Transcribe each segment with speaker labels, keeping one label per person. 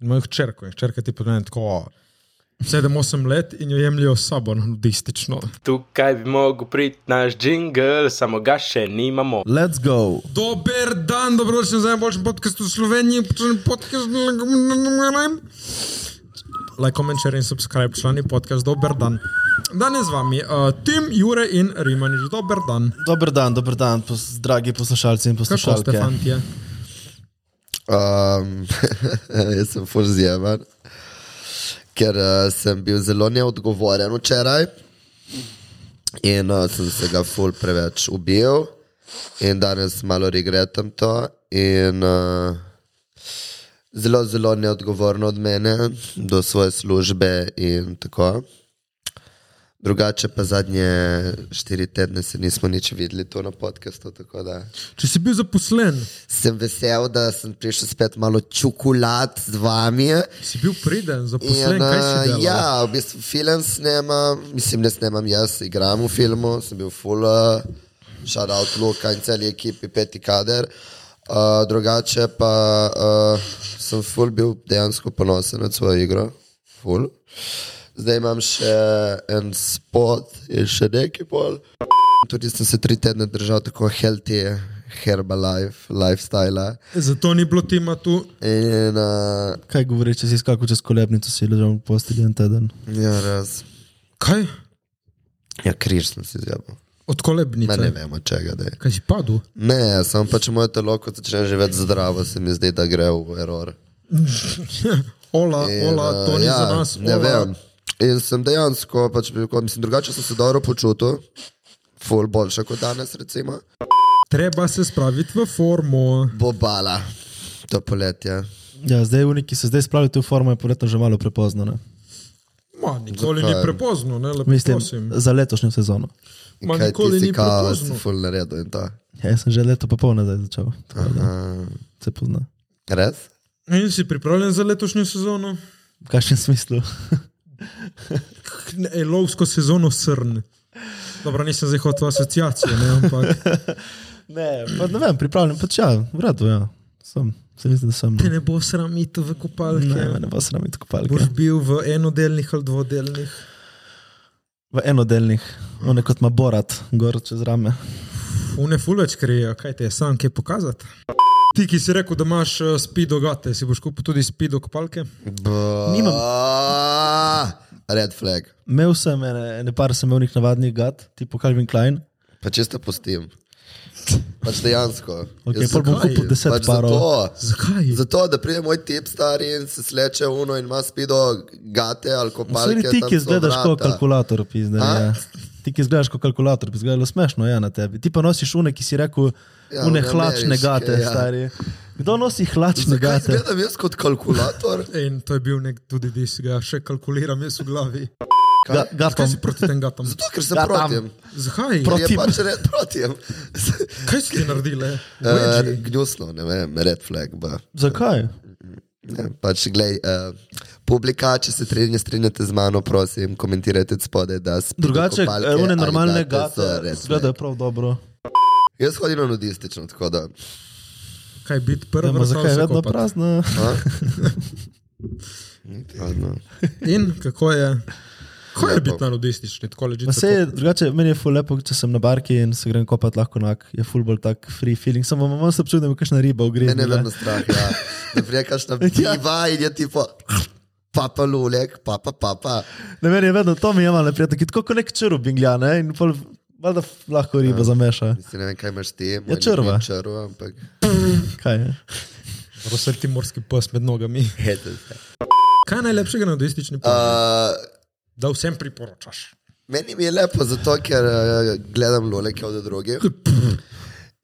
Speaker 1: In mojo hčerko, in hčerka ti pomeni tako 7-8 let in jo jemljajo s sabo no, nudistično.
Speaker 2: Tukaj bi mogel priti naš jingle, samo ga še nimamo.
Speaker 3: Let's go.
Speaker 1: Dober dan, dobrodošli nazaj na boljšem podkastu v Sloveniji, počutim podcast. Like, comment, share in subscribe, člani podcast, dober dan. Danes z vami uh, Tim, Jure in Rimanič, dober dan.
Speaker 3: Dober dan, dober dan, pos, dragi poslušalci in
Speaker 1: Kako ste,
Speaker 3: poslušalke.
Speaker 1: fantje?
Speaker 4: Um, jaz sem forzijevan, ker uh, sem bil zelo neodgovoren včeraj in uh, sem se ga ful preveč ubil in danes malo regretam to in uh, zelo, zelo neodgovorno od mene do svoje službe in tako. Drugače pa zadnje štiri tedne se nismo nič videli tu na podkastu, tako da
Speaker 1: Če si bil zaposlen,
Speaker 4: sem vesel, da sem prišel spet malo čokolad z vami.
Speaker 1: si bil priden, zaposlen,
Speaker 4: In,
Speaker 1: kaj si
Speaker 4: uh,
Speaker 1: delal?
Speaker 4: ja, v bistvu film snemam, mislim, ne snemam jaz, igram v filmu, sem bil full, uh, shout out Luka in celi ekipi, peti kader. Uh, drugače pa uh, sem full bil dejansko ponosen na svojo igro, full. Zdaj imam še en spot in še neki pol. Tudi sem se tri tedne držal tako healthy, herbalife, lifestyle.
Speaker 1: Zato ni bilo tima tu.
Speaker 4: In uh,
Speaker 3: Kaj govoriš, če si skakal čez kolebnico, si ležal v postelji en teden?
Speaker 4: ja, raz.
Speaker 1: Kaj?
Speaker 4: Ja, križ sem si zjabil.
Speaker 1: Od
Speaker 4: Ma ne
Speaker 1: kolebnice.
Speaker 4: vemo, čega da je.
Speaker 1: Kaj si padel?
Speaker 4: Ne, samo pač moje telo, ko začne živeti zdravo, se mi zdi, da gre v error.
Speaker 1: Ola,
Speaker 4: In,
Speaker 1: ola, to
Speaker 4: eh,
Speaker 1: ni za nas.
Speaker 4: Ne
Speaker 1: ola.
Speaker 4: vem. In sem dejansko, pač, bil ko- mislim, drugače sem se dobro počutil, ful boljše kot danes, recimo.
Speaker 1: Treba se spraviti v formo.
Speaker 4: Bobala, to poletje.
Speaker 3: Ja, zdaj uniki se zdaj spravljajo v formo, je poletno že malo prepozno. Ne?
Speaker 1: Ma, nikoli ni
Speaker 4: Zakaj?
Speaker 1: prepozno, ne lepo
Speaker 3: Mislim,
Speaker 1: prosim.
Speaker 3: za letošnjo sezono.
Speaker 4: In
Speaker 1: Ma,
Speaker 4: kaj
Speaker 1: nikoli
Speaker 4: ti si
Speaker 1: ni
Speaker 4: kao,
Speaker 1: prepozno.
Speaker 4: si ful naredil in to.
Speaker 3: Ja, jaz sem že leto pa pol nazaj začel, tako da
Speaker 4: Uh,
Speaker 3: se pozna.
Speaker 4: res?
Speaker 1: In si pripravljen za letošnjo sezono?
Speaker 3: V kakšnem smislu?
Speaker 1: K- ne, e, Lovsko sezono srn. Dobro, nisem zdaj hotel asociacije, ne, ampak
Speaker 3: ne, pa ne vem, pripravljen pač ja, v redu, ja. Sem, se mislim, da sem.
Speaker 1: te ne bo sramito v kopalke.
Speaker 3: Ne, me ne bo sram iti kopalke.
Speaker 1: Boš bil v enodelnih ali dvodelnih.
Speaker 3: V enodelnih, one kot ima borat, gor čez rame.
Speaker 1: Une fulveč krijejo, kaj te je sam kaj pokazati. Ti, ki si rekel, da imaš eh, spido gate, si boš kupil tudi spido kopalke?
Speaker 3: Nimam.
Speaker 4: Nimam. Red flag.
Speaker 3: Imel sem ene, ene par sem imel nek navadnih gat, tipo Calvin Klein.
Speaker 4: Pa če ste pustim. Pač dejansko.
Speaker 3: Ok,
Speaker 4: Jaz
Speaker 3: pol bom
Speaker 4: zakaj?
Speaker 3: kupil deset
Speaker 4: pač
Speaker 3: parov.
Speaker 4: Zato,
Speaker 1: Zakaj?
Speaker 4: Zato, da pride moj tip star in se sleče uno in ima spido gate ali kopalke.
Speaker 3: Vsi ti,
Speaker 4: tam
Speaker 3: ki
Speaker 4: so
Speaker 3: izgledaš kot
Speaker 4: vrata.
Speaker 3: kalkulator, pizde.
Speaker 4: A?
Speaker 3: Ja. Ti, ki izgledaš kot kalkulator, bi izgledalo smešno ja, na tebi. Ti pa nosiš une, ki si rekel,
Speaker 4: Ja,
Speaker 3: une
Speaker 4: one
Speaker 3: hlačne
Speaker 4: ameriške,
Speaker 3: gate, ja.
Speaker 4: ja.
Speaker 3: stari. Kdo nosi hlačne
Speaker 4: Zakaj
Speaker 3: gate?
Speaker 4: izgledam jaz kot kalkulator?
Speaker 1: In to je bil nek tudi dis, ga še kalkuliram jaz v glavi.
Speaker 3: Ga, ga pa,
Speaker 1: Kaj si proti tem gatam?
Speaker 4: Zato, ker sem
Speaker 3: Ja,
Speaker 4: ja,
Speaker 3: tam.
Speaker 4: proti.
Speaker 1: Zakaj?
Speaker 3: Ja, Proti-
Speaker 4: Je
Speaker 3: Protim.
Speaker 4: pač red proti.
Speaker 1: Kaj si ti naredile?
Speaker 4: Eh, Gnusno, ne vem, red flag. Ba.
Speaker 3: zakaj?
Speaker 4: Ne, pač, glej, uh, publika, če se trenje strinjate z mano, prosim, komentirajte spodaj, da se
Speaker 3: Drugače, eh, une normalne gate izgledajo prav dobro.
Speaker 4: Jaz hodim na nudistično, tako da.
Speaker 1: Kaj biti prvi?
Speaker 3: Dajmo, zakaj je vedno prazna?
Speaker 4: A? no. Niti eno.
Speaker 1: In kako je? Kako je biti na nudistični, tako leži?
Speaker 3: Ma se je, drugače, meni je ful lepo, če sem na barki in se grem kopat lahko nak, je ful bolj tak free feeling, samo malo se občutim, da me kakšna riba ogreje.
Speaker 4: Mene je vedno strah, ja. da prijekaš na piva in je tipo, papa lulek, papa, papa.
Speaker 3: Ne, meni je vedno to mi je malo neprijetno, ki je tako kot nek črubing, ja, ne, in pol, valjda f- lahko riba zameša.
Speaker 4: Mislim, ne vem, kaj imaš ti,
Speaker 3: Ja, črva.
Speaker 4: črva, ampak
Speaker 3: Kaj je?
Speaker 1: Vse ti morski pes med nogami.
Speaker 4: hete se.
Speaker 1: Kaj je najlepšega na nudistični pes?
Speaker 3: Eh.
Speaker 1: Uh,
Speaker 4: Uh,
Speaker 1: da vsem priporočaš.
Speaker 4: meni mi je lepo zato, ker uh, gledam luleke od drugih.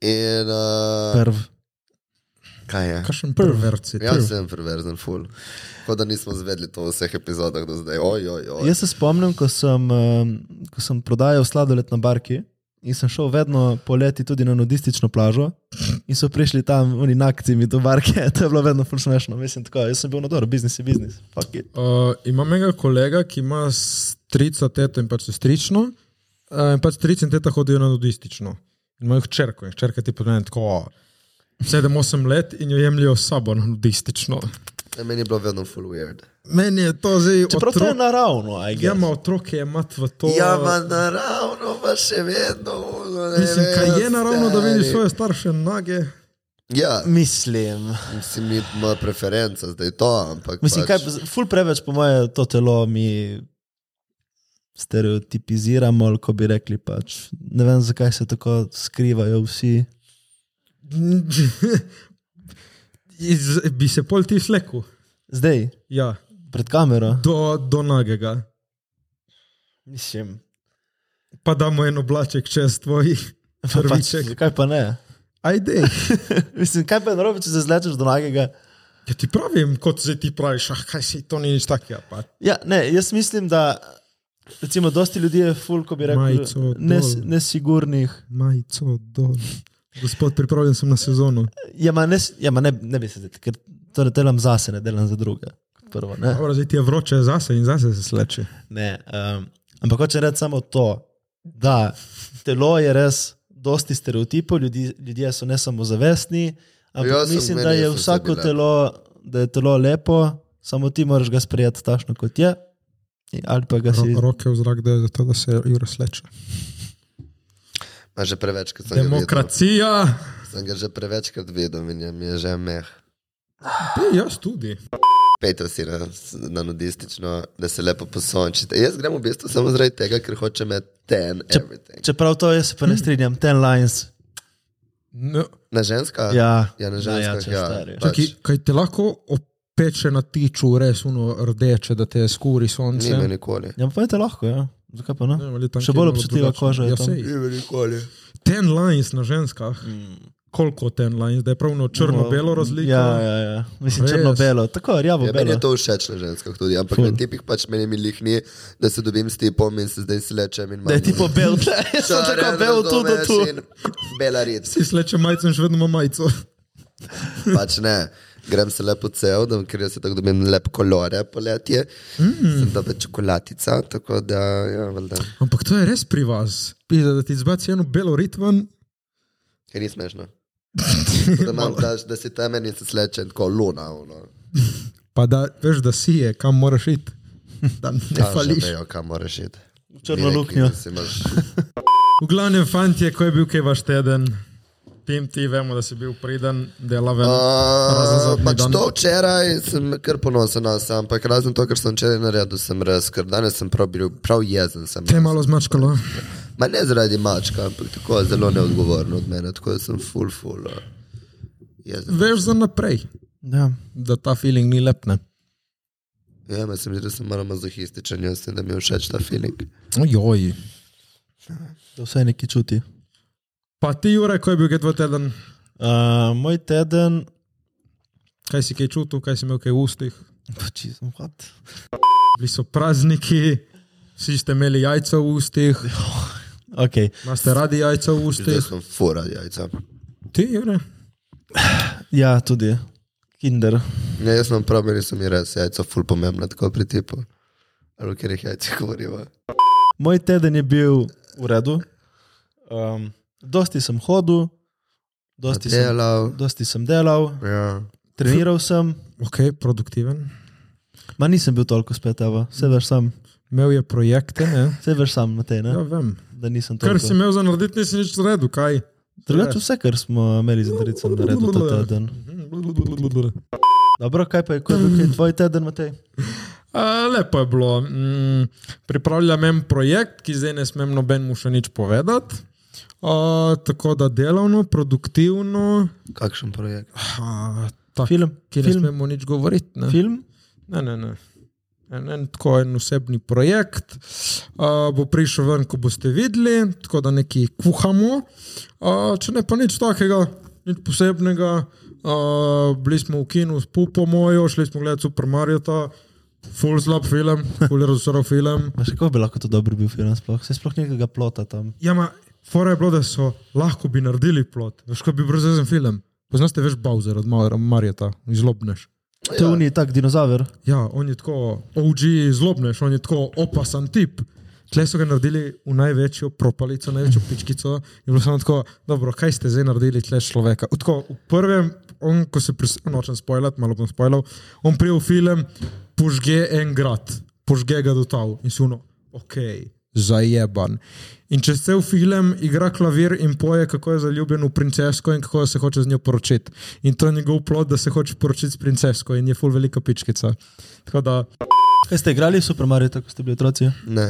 Speaker 4: In uh,
Speaker 3: Prv.
Speaker 4: kaj je?
Speaker 1: Kakšen pervert si ti?
Speaker 3: Ja,
Speaker 4: Jaz Ja, sem perverzen, full. Kot da nismo zvedeli to v vseh epizodah do zdaj. Oj, oj, oj.
Speaker 3: Jaz se spomnim, ko sem, em, ko sem prodajal sladoled na barki in sem šel vedno poleti tudi na nudistično plažo in so prišli tam oni nakci mi do barke, to je bilo vedno ful smešno, mislim tako, jaz sem bil na dobro, biznis je biznis, fuck it.
Speaker 1: Uh, imam enega kolega, ki ima strica, teto in pač sestrično. Uh, in pač stric in teta hodijo na nudistično. In imajo hčerko, in hčerka ti pomeni tako 7-8 let in jo jemljajo s sabo na nudistično.
Speaker 4: Ja, Meni je bilo vedno full weird.
Speaker 1: Meni je to zdaj.
Speaker 3: Čeprav to je naravno, aj
Speaker 1: Ja,
Speaker 3: gre.
Speaker 1: ima otroke, je mat v to.
Speaker 4: Ja, ma naravno, pa še vedno. ono, ne
Speaker 1: Mislim, kaj je
Speaker 4: vem,
Speaker 1: naravno, da
Speaker 4: stari.
Speaker 1: vidiš svoje starše nage.
Speaker 4: Ja,
Speaker 3: Mislim.
Speaker 4: mislim, mi ima preferenca, zdaj to, ampak.
Speaker 3: Mislim, kaj,
Speaker 4: pač,
Speaker 3: ful preveč, po mojem, to telo mi stereotipiziramo, ali ko bi rekli. Pač. Ne vem, zakaj se tako skrivajo vsi.
Speaker 1: Iz, bi se pol ti slekel.
Speaker 3: Zdaj,
Speaker 1: Ja,
Speaker 3: pred kamero.
Speaker 1: do, do nagega.
Speaker 3: Mislim.
Speaker 1: Pa damo en oblaček čez tvoj
Speaker 3: Pa pač,
Speaker 1: prviček.
Speaker 3: zakaj pa ne?
Speaker 1: Ajde.
Speaker 3: Mislim, kaj pa je narobe, če se zlečeš do nagega?
Speaker 1: Ja ti pravim, kot se ti praviš, ah, kaj si to ni nič takega. Pa.
Speaker 3: Ja, ne, jaz mislim, da recimo, dosti ljudi je ful, ko bi rekel,
Speaker 1: Majico dol.
Speaker 3: nes, nesigurnih.
Speaker 1: Majico dol. Gospod, pripravljen sem na sezono.
Speaker 3: Ja, ma, nes, ja, ma ne, ne bi se zdaj, ker to ne delam zase, ne delam za druge. kot Prvo, ne?
Speaker 1: Dobro, zdaj ti je vroče zase in zase se sleče.
Speaker 3: Ne, um, ampak hoče reči samo to, da telo je res dosti stereotipov, ljudi, ljudje so ne samo zavestni, ampak Jaz
Speaker 4: Jaz Ja, sem
Speaker 3: mislim,
Speaker 4: meni,
Speaker 3: da je
Speaker 4: jaz sem
Speaker 3: vsako
Speaker 4: sebi
Speaker 3: telo, da je telo lepo, samo ti moraš ga sprejeti takšno, kot je. Ali pa ga si
Speaker 1: Ro, roke v zrak, da je zato, da se Jure sleče.
Speaker 4: Ma že prevečkrat sem ga
Speaker 1: Demokracija!
Speaker 4: videl. Sem ga že prevečkrat videl in je- mi je že meh.
Speaker 1: Ti, jaz tudi.
Speaker 4: Pejte si na, na nudistično, da se lepo posončite. Jaz grem v bistvu samo zaradi tega, ker hočem imeti ten everything.
Speaker 3: Čeprav to jaz se pa ne strinjam, ten lines.
Speaker 1: No,
Speaker 4: Na ženskah?
Speaker 3: Ja,
Speaker 4: ja na
Speaker 3: ja,
Speaker 4: ženskah.
Speaker 3: če
Speaker 4: Ja,
Speaker 3: stari.
Speaker 4: pač.
Speaker 1: Čaki, kaj te lahko opeče na tiču, res uno rdeče, da te skuri sonce?
Speaker 4: Nime nikoli.
Speaker 3: Ja, pa je to lahko, ja. Zakaj pa ne?
Speaker 1: Ne vem, ali je tam
Speaker 3: Še
Speaker 1: kje
Speaker 3: bolj
Speaker 1: malo
Speaker 3: občutljiva
Speaker 1: drugače.
Speaker 3: koža je
Speaker 1: Ja,
Speaker 3: tam.
Speaker 1: sej.
Speaker 4: Nime nikoli.
Speaker 1: Ten lines na ženskah. Mm. Koliko ten lines, da je pravno črno-belo razlika?
Speaker 3: Ja, ja, ja. mislim
Speaker 1: Res.
Speaker 3: črno-belo, tako rjavo
Speaker 4: Ja, meni
Speaker 3: belo.
Speaker 4: je to všeč na ženskah tudi, ampak Ful. na tipih pač meni mi lihni, da se dobim s tipom in se zdaj slečem in imam.
Speaker 3: Da je tipo bel, tle, jaz sem tako bel tu do tu.
Speaker 4: Bela rit.
Speaker 1: Ti sleče majico in še vedno ima majico.
Speaker 4: Pač ne. Grem se lepo cel, da, ker jaz se tako dobim lep kolore poletje. Mm. Sem dobra čokolatica, tako da, ja, valjda.
Speaker 1: Ampak to je res pri vas. Pisa, da ti zbaci eno belo ritven,
Speaker 4: Ker ni smešno. da, imam, da, da si temen in se slečem tako luna. Ono.
Speaker 1: pa da veš, da si je, kam moraš iti. Da ne
Speaker 4: Tam že
Speaker 1: fališ.
Speaker 4: Vejo, kam moraš iti.
Speaker 3: Ja, Črno
Speaker 4: Mi neki,
Speaker 3: luknjo.
Speaker 4: da si imaš-
Speaker 1: V glavnem, fantje, ko je bil kaj vaš teden, tim ti vemo, da si bil priden, delaven. razen
Speaker 4: Uh,
Speaker 1: zadnji
Speaker 4: pač
Speaker 1: dan.
Speaker 4: to včeraj sem kar ponosen na sebe, ampak razen to, kar sem včeraj naredil, sem res, ker danes sem prav, bil, prav jezen. Sem,
Speaker 1: Te je malo zmačkalo.
Speaker 4: Ma ne zaradi mačka, ampak tako zelo neodgovorno od mene, tako da sem full, full. Ja, Uh, jezen.
Speaker 1: Veš za naprej,
Speaker 3: Ja.
Speaker 1: da ta feeling ni lep. Ne?
Speaker 4: Ja, ma sem že, da sem malo mazohističen, jaz sem, da mi je všeč ta feeling.
Speaker 1: Ojoj.
Speaker 3: Da vse neki čuti.
Speaker 1: Pa ti, Jure, ko je bil kaj dva teden,
Speaker 3: Uh, moj teden,
Speaker 1: kaj si kaj čutil, kaj si imel kaj v ustih.
Speaker 3: pač sem hod.
Speaker 1: Bili so prazniki, vsi ste imeli jajca v ustih,
Speaker 3: Okay.
Speaker 1: imate radi jajca v
Speaker 4: Zdaj
Speaker 1: ustih.
Speaker 4: sem fura jajca.
Speaker 1: Ti, Jure?
Speaker 3: Ja, tudi. Kinder.
Speaker 4: Ja, jaz sem prav, meni so mi res jajca full pomembna, tako pri tipu. Ali ker jih jajca govoriva.
Speaker 3: Moj teden je bil v redu. Um, dosti sem hodil, dosti sem,
Speaker 4: Delal.
Speaker 3: dosti sem delal,
Speaker 4: Ja.
Speaker 3: treniral sem,
Speaker 1: Ok, produktiven.
Speaker 3: ma nisem bil toliko spet, evo. vse veš sam,
Speaker 1: Imel je projekte, ne?
Speaker 3: vse veš sam na te,
Speaker 1: Ja,
Speaker 3: ne?
Speaker 1: vem.
Speaker 3: da nisem to.
Speaker 1: Kar si imel za narediti, nisi nič naredil, kaj?
Speaker 3: Drugače vse, kar smo imeli za narediti, sem naredil ta teden. Dobro, kaj pa je, ko je bil kaj tvoj teden, Matej?
Speaker 1: A, lepo je bilo. Mm, pripravljam en projekt, ki zdaj ne smem nobenemu še nič povedati. A, tako da delovno, produktivno.
Speaker 4: Kakšen projekt?
Speaker 1: A, tak,
Speaker 3: Film?
Speaker 1: Ki ne
Speaker 3: Film?
Speaker 1: smemo nič govoriti. Ne?
Speaker 3: Film?
Speaker 1: Ne, ne, ne. En, en tako en osebni projekt uh, bo prišel ven, ko boste videli, tako da nekaj kuhamo. Uh, če ne pa nič takega, nič posebnega. Uh, bili smo v kinu s pupo mojo, šli smo gledati Super Mario, ta full slab film, full razočaran film.
Speaker 3: Ma še kako bi lahko to dobro bil film sploh? Se sploh nekega plota tam.
Speaker 1: Ja, ma, fora je bilo, da so lahko bi naredili plot, veš, kot bi bil brzezen film. Poznaš te veš Bowser od Marjeta, izlobneš.
Speaker 3: To je unij, tak dinozaver.
Speaker 1: Ja, on je tako, OG zlobneš, on je tako opasan tip. Tle so ga naredili v največjo propalico, največjo pičkico. Je bilo samo tako, dobro, kaj ste zdaj naredili tle človeka. V Tako, v prvem on, ko se pres, nočem spoilat, malo bom spoilal, on prije v film požge en grad, požge ga do tal in si uno, ok, zajeban. In če se v film igra klavir in poje, kako je zaljubljen v princesko in kako se hoče z njo poročiti. In to je njegov plod, da se hoče poročiti s princesko in je full velika pičkica. Tako da,
Speaker 3: Kaj ste igrali v Super Mario, tako ste bili otroci?
Speaker 4: Ne,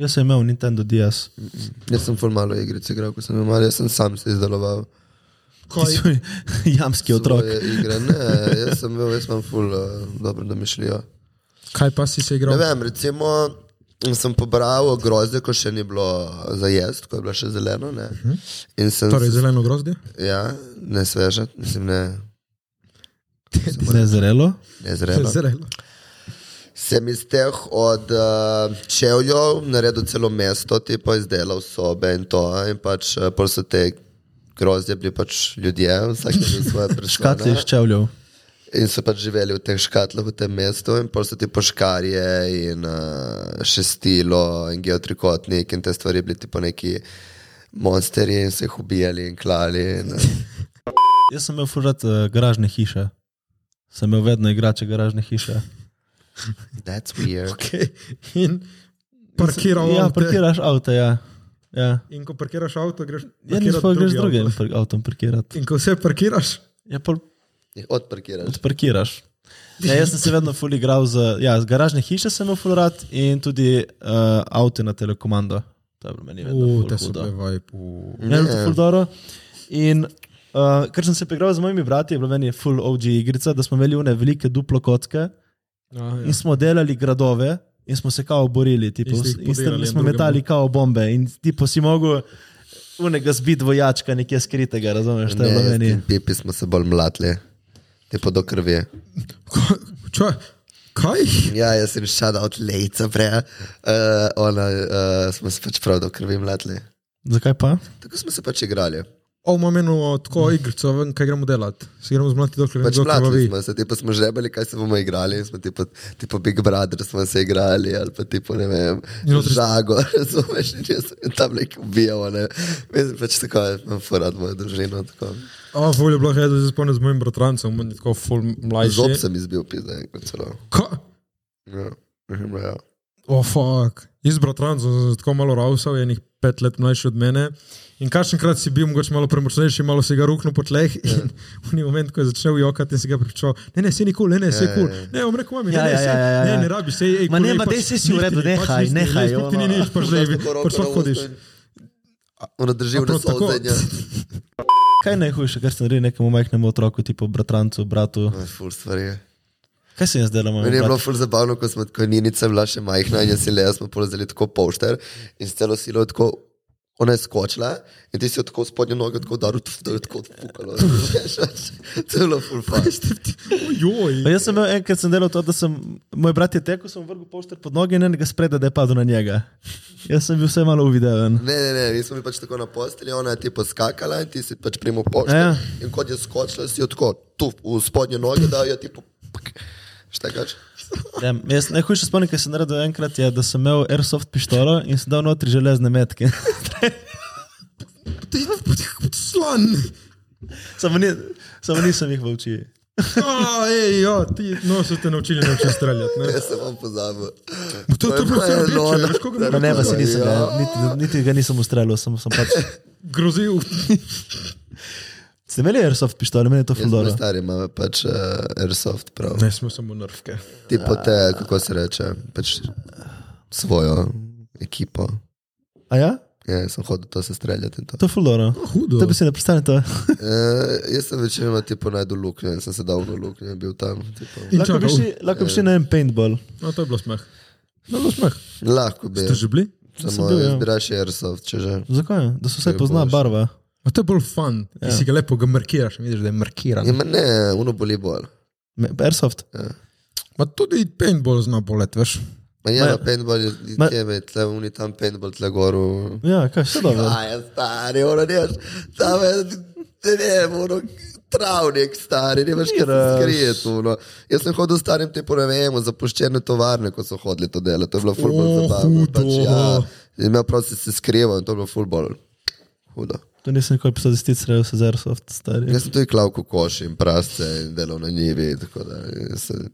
Speaker 3: Jaz sem imel Nintendo DS.
Speaker 4: jaz sem formalno igrice igral, ko sem imel, jaz sem sam se izdeloval.
Speaker 1: ko je
Speaker 3: Svoj Jamski otrok.
Speaker 4: svoje Igre. Ne, jaz sem bil, jaz sem ful uh, dobro domišljijo.
Speaker 1: Kaj pa si se igral?
Speaker 4: Ne vem, recimo sem pobral grozde, ko še ni bilo za jesti, ko je bilo še zeleno. Ne? In sem,
Speaker 1: Torej, zeleno grozdje?
Speaker 4: ja, ne sveže, mislim, ne,
Speaker 3: Nezrelo.
Speaker 4: ne
Speaker 3: Ja,
Speaker 4: zrelo.
Speaker 1: Zeleno.
Speaker 4: Sem iz teh od uh, čevljev naredil celo mesto, ti pa izdelal sobe in to. In pač uh, pol so te grozdje bili pač ljudje, vsak je imel svoje
Speaker 3: Škatle
Speaker 4: priškatlišče.
Speaker 3: iz čevljev.
Speaker 4: In so pač živeli v teh škatlah, v tem mestu, in pol so ti poškarje, in uh, šestilo, in geotrikotnik, in te stvari bili ti po neki monsterji, in se jih ubijali in klali. In, uh,
Speaker 3: Jaz sem imel fužat uh, garažne hiše. Sem imel vedno igrače garažne hiše.
Speaker 4: that's weird.
Speaker 1: Okay. In parkiral
Speaker 3: Ja,
Speaker 1: avte.
Speaker 3: parkiraš avto, ja. ja.
Speaker 1: In ko parkiraš avto, greš
Speaker 3: Ja,
Speaker 1: parkirat
Speaker 3: nisem pa greš z
Speaker 1: drugi
Speaker 3: drugim
Speaker 1: avto.
Speaker 3: par- avtom parkirati.
Speaker 1: In ko vse parkiraš,
Speaker 3: Ja, pol
Speaker 4: Jih Odparkiraš.
Speaker 3: odparkiraš. Ja, jaz sem se vedno ful igral z, ja, z garažne hiše, sem imel ful rad in tudi uh, avto na telekomando. Ja, To je bilo meni vedno.
Speaker 1: U,
Speaker 3: ful
Speaker 1: te so
Speaker 3: hudo.
Speaker 1: bile vibe.
Speaker 3: Ne, ne, ful dobro. In uh, ker sem se preigral z mojimi brati, je bila meni full OG igrica, da smo imeli une velike duplo
Speaker 1: Ja.
Speaker 3: kocke in smo delali gradove in smo se kao borili, tipo,
Speaker 1: In ste jih
Speaker 3: in s tem
Speaker 1: podirali
Speaker 3: smo
Speaker 1: en
Speaker 3: metali
Speaker 1: drugemu.
Speaker 3: kao bombe in tipo si mogel unega zbit vojačka nekje skritega, razumeš, to je bilo
Speaker 4: Ne,
Speaker 3: meni.
Speaker 4: in pipi smo se bolj mlatili, te pa do krvi.
Speaker 1: Ča, kaj?
Speaker 4: Ja, jaz sem šel od lejca prej, uh, ona uh, smo se pač prav do krvi mlatili.
Speaker 3: Zakaj pa?
Speaker 4: Tako smo se pač igrali.
Speaker 1: O, imam eno tako igrico, ven, kaj gremo delati. Se gremo zmlati, dokler ne
Speaker 4: Pač
Speaker 1: bo krvavi.
Speaker 4: mlatili smo se, ti pa smo žrebali, kaj se bomo igrali. in Smo ti pa, ti pa Big Brother smo se igrali, ali pa ti pa ne vem,
Speaker 1: notri-
Speaker 4: žago, razumeš, in jaz sem tam nek ubijal. Ne. Mislim, pač tako je, imam forad mojo družino. no, Tako.
Speaker 1: O, ful je bilo, hej, da se spomnim z mojim bratrancem, on je tako ful
Speaker 4: Zob
Speaker 1: mlajši.
Speaker 4: sem izbil, pizda, enkrat celo.
Speaker 1: Ka-
Speaker 4: Ja, mislim, da ja.
Speaker 1: O, oh, fuck. Jaz, bratranc, sem se tako malo rausal, je enih pet let mlajši od mene. In kakšenkrat si bil mogoče malo premočnejši, malo si ga ruknil po tleh. In v neki moment, ko je začel jokati, in si ga pripričal, ne, ne, si nikoli, ne, ne, si kul. Ne, bom rekel, mami, ne,
Speaker 3: Ja,
Speaker 1: ne,
Speaker 3: ja,
Speaker 1: saj,
Speaker 3: ja, ja, ja.
Speaker 1: ne, ne rabi, se je.
Speaker 3: Ma ne, ma daj, saj si v redu, nehaj, nehaj,
Speaker 1: Ti ni
Speaker 3: ono.
Speaker 1: nič, pač zdaj,
Speaker 4: Tako roko
Speaker 1: pač pa
Speaker 4: na
Speaker 1: hodiš.
Speaker 4: usta in- Ona drži v ja.
Speaker 1: Prav
Speaker 4: nas
Speaker 1: tako.
Speaker 4: odzadnja.
Speaker 3: Kaj je najhujše, kar ste naredili nekemu majhnemu otroku, tipo bratrancu, bratu?
Speaker 4: Ful stvari.
Speaker 3: Kaj se jaz delam?
Speaker 4: Meni je bilo ful zabavno, ko smo tako njinica bila še majhna in jaz in le smo polazili tako pošter in s celo silo tako, ona je skočila in ti si jo tako spodnjo nogo tako udaril, tf, da je tako odpukalo. Celo ful fajn.
Speaker 1: Joj.
Speaker 3: Pa jaz sem imel enkrat sem delal to, da sem moj brat je tekel, sem mu vrgel pošter pod noge in enega spreda, da je padel na njega. Jaz sem bil vse malo uvideven.
Speaker 4: Ne, ne, ne, mi smo bili pač tako na postelji, ona je ti poskakala in ti si pač primo pošter
Speaker 3: Ja.
Speaker 4: ja. in kot je skočila, si jo tako tu v spodnjo nogo dal, ja ti po... Šta kač?
Speaker 3: Ja, jaz najhujše spomnim, kaj sem naredil enkrat, je, da sem imel airsoft pištolo in sem dal notri železne metke.
Speaker 1: Ti si slan.
Speaker 3: samo, ni, samo nisem jih v oči.
Speaker 1: A, ej, jo, ti, no, so te naučili, ne učiš streljati. ne.
Speaker 4: Jaz sem vam pozabil.
Speaker 1: To je bilo vse rdeče, veš, koga bi
Speaker 3: Pa no. ne, pa se nisem,
Speaker 4: Ja.
Speaker 3: ja. niti, niti ga nisem ustrelil, samo sem pač.
Speaker 1: Grozil.
Speaker 3: Ste imeli airsoft pištolo, meni je to
Speaker 4: Jaz sem
Speaker 3: fuldo.
Speaker 4: star, imam pač uh, airsoft prav.
Speaker 1: Ne, smo samo nervke.
Speaker 4: Tipo te, kako se reče, pač svojo ekipo.
Speaker 3: A ja?
Speaker 4: Ja, jaz sem hodil to se streljati. in To.
Speaker 3: To je fuldo.
Speaker 1: Hudo.
Speaker 3: To bi si ne predstavljal.
Speaker 4: E, jaz sem večinoma tipo najdel luknjo in sem se dal v luknjo in bil tam. Tipo.
Speaker 1: In
Speaker 3: Lahko bi
Speaker 1: čakal.
Speaker 3: šli- lahko bi šli na en paintball.
Speaker 1: No, to je bilo smeh.
Speaker 3: No,
Speaker 1: To je bilo smeh.
Speaker 4: Lahko
Speaker 3: Ja.
Speaker 4: bi.
Speaker 1: Ste že bili?
Speaker 4: Samo
Speaker 3: bil, ja.
Speaker 4: izbiraš airsoft, če že.
Speaker 3: Zakaj? Da se vse pozna
Speaker 4: boš.
Speaker 3: barva.
Speaker 1: A to je bolj fun, ja. si ga lepo ga markiraš, in vidiš, da je markiran.
Speaker 3: Ja.
Speaker 4: Ima Ja, ne, uno boli bolj.
Speaker 3: Me- Airsoft.
Speaker 1: Ma tudi paintball zna bolet, veš.
Speaker 4: Ma ja, na paintball je
Speaker 3: ma-
Speaker 4: tebe, tle uni tam paintball tle goru.
Speaker 3: Ja, kaj, vse dobro.
Speaker 4: Aj, stari, ono neš, tam je, ne vem, ono travnik stari, ne veš, kaj
Speaker 3: Niraš.
Speaker 4: skrijet, ono. Jaz sem hodil starim tipo, ne vem, v zapuščene tovarne, ko so hodili to delo, to je bilo fulbol
Speaker 1: O,
Speaker 4: zabavno. Pač,
Speaker 1: hudo.
Speaker 4: ja, In imel prav si se skrival in to je bilo fulbol. Hudo.
Speaker 3: To nisem nikoli pisal, zdaj ti rejo se z Airsoft, stari.
Speaker 4: Jaz sem tudi klav v koš in prasce in delal na njivi. tako da, jaz se-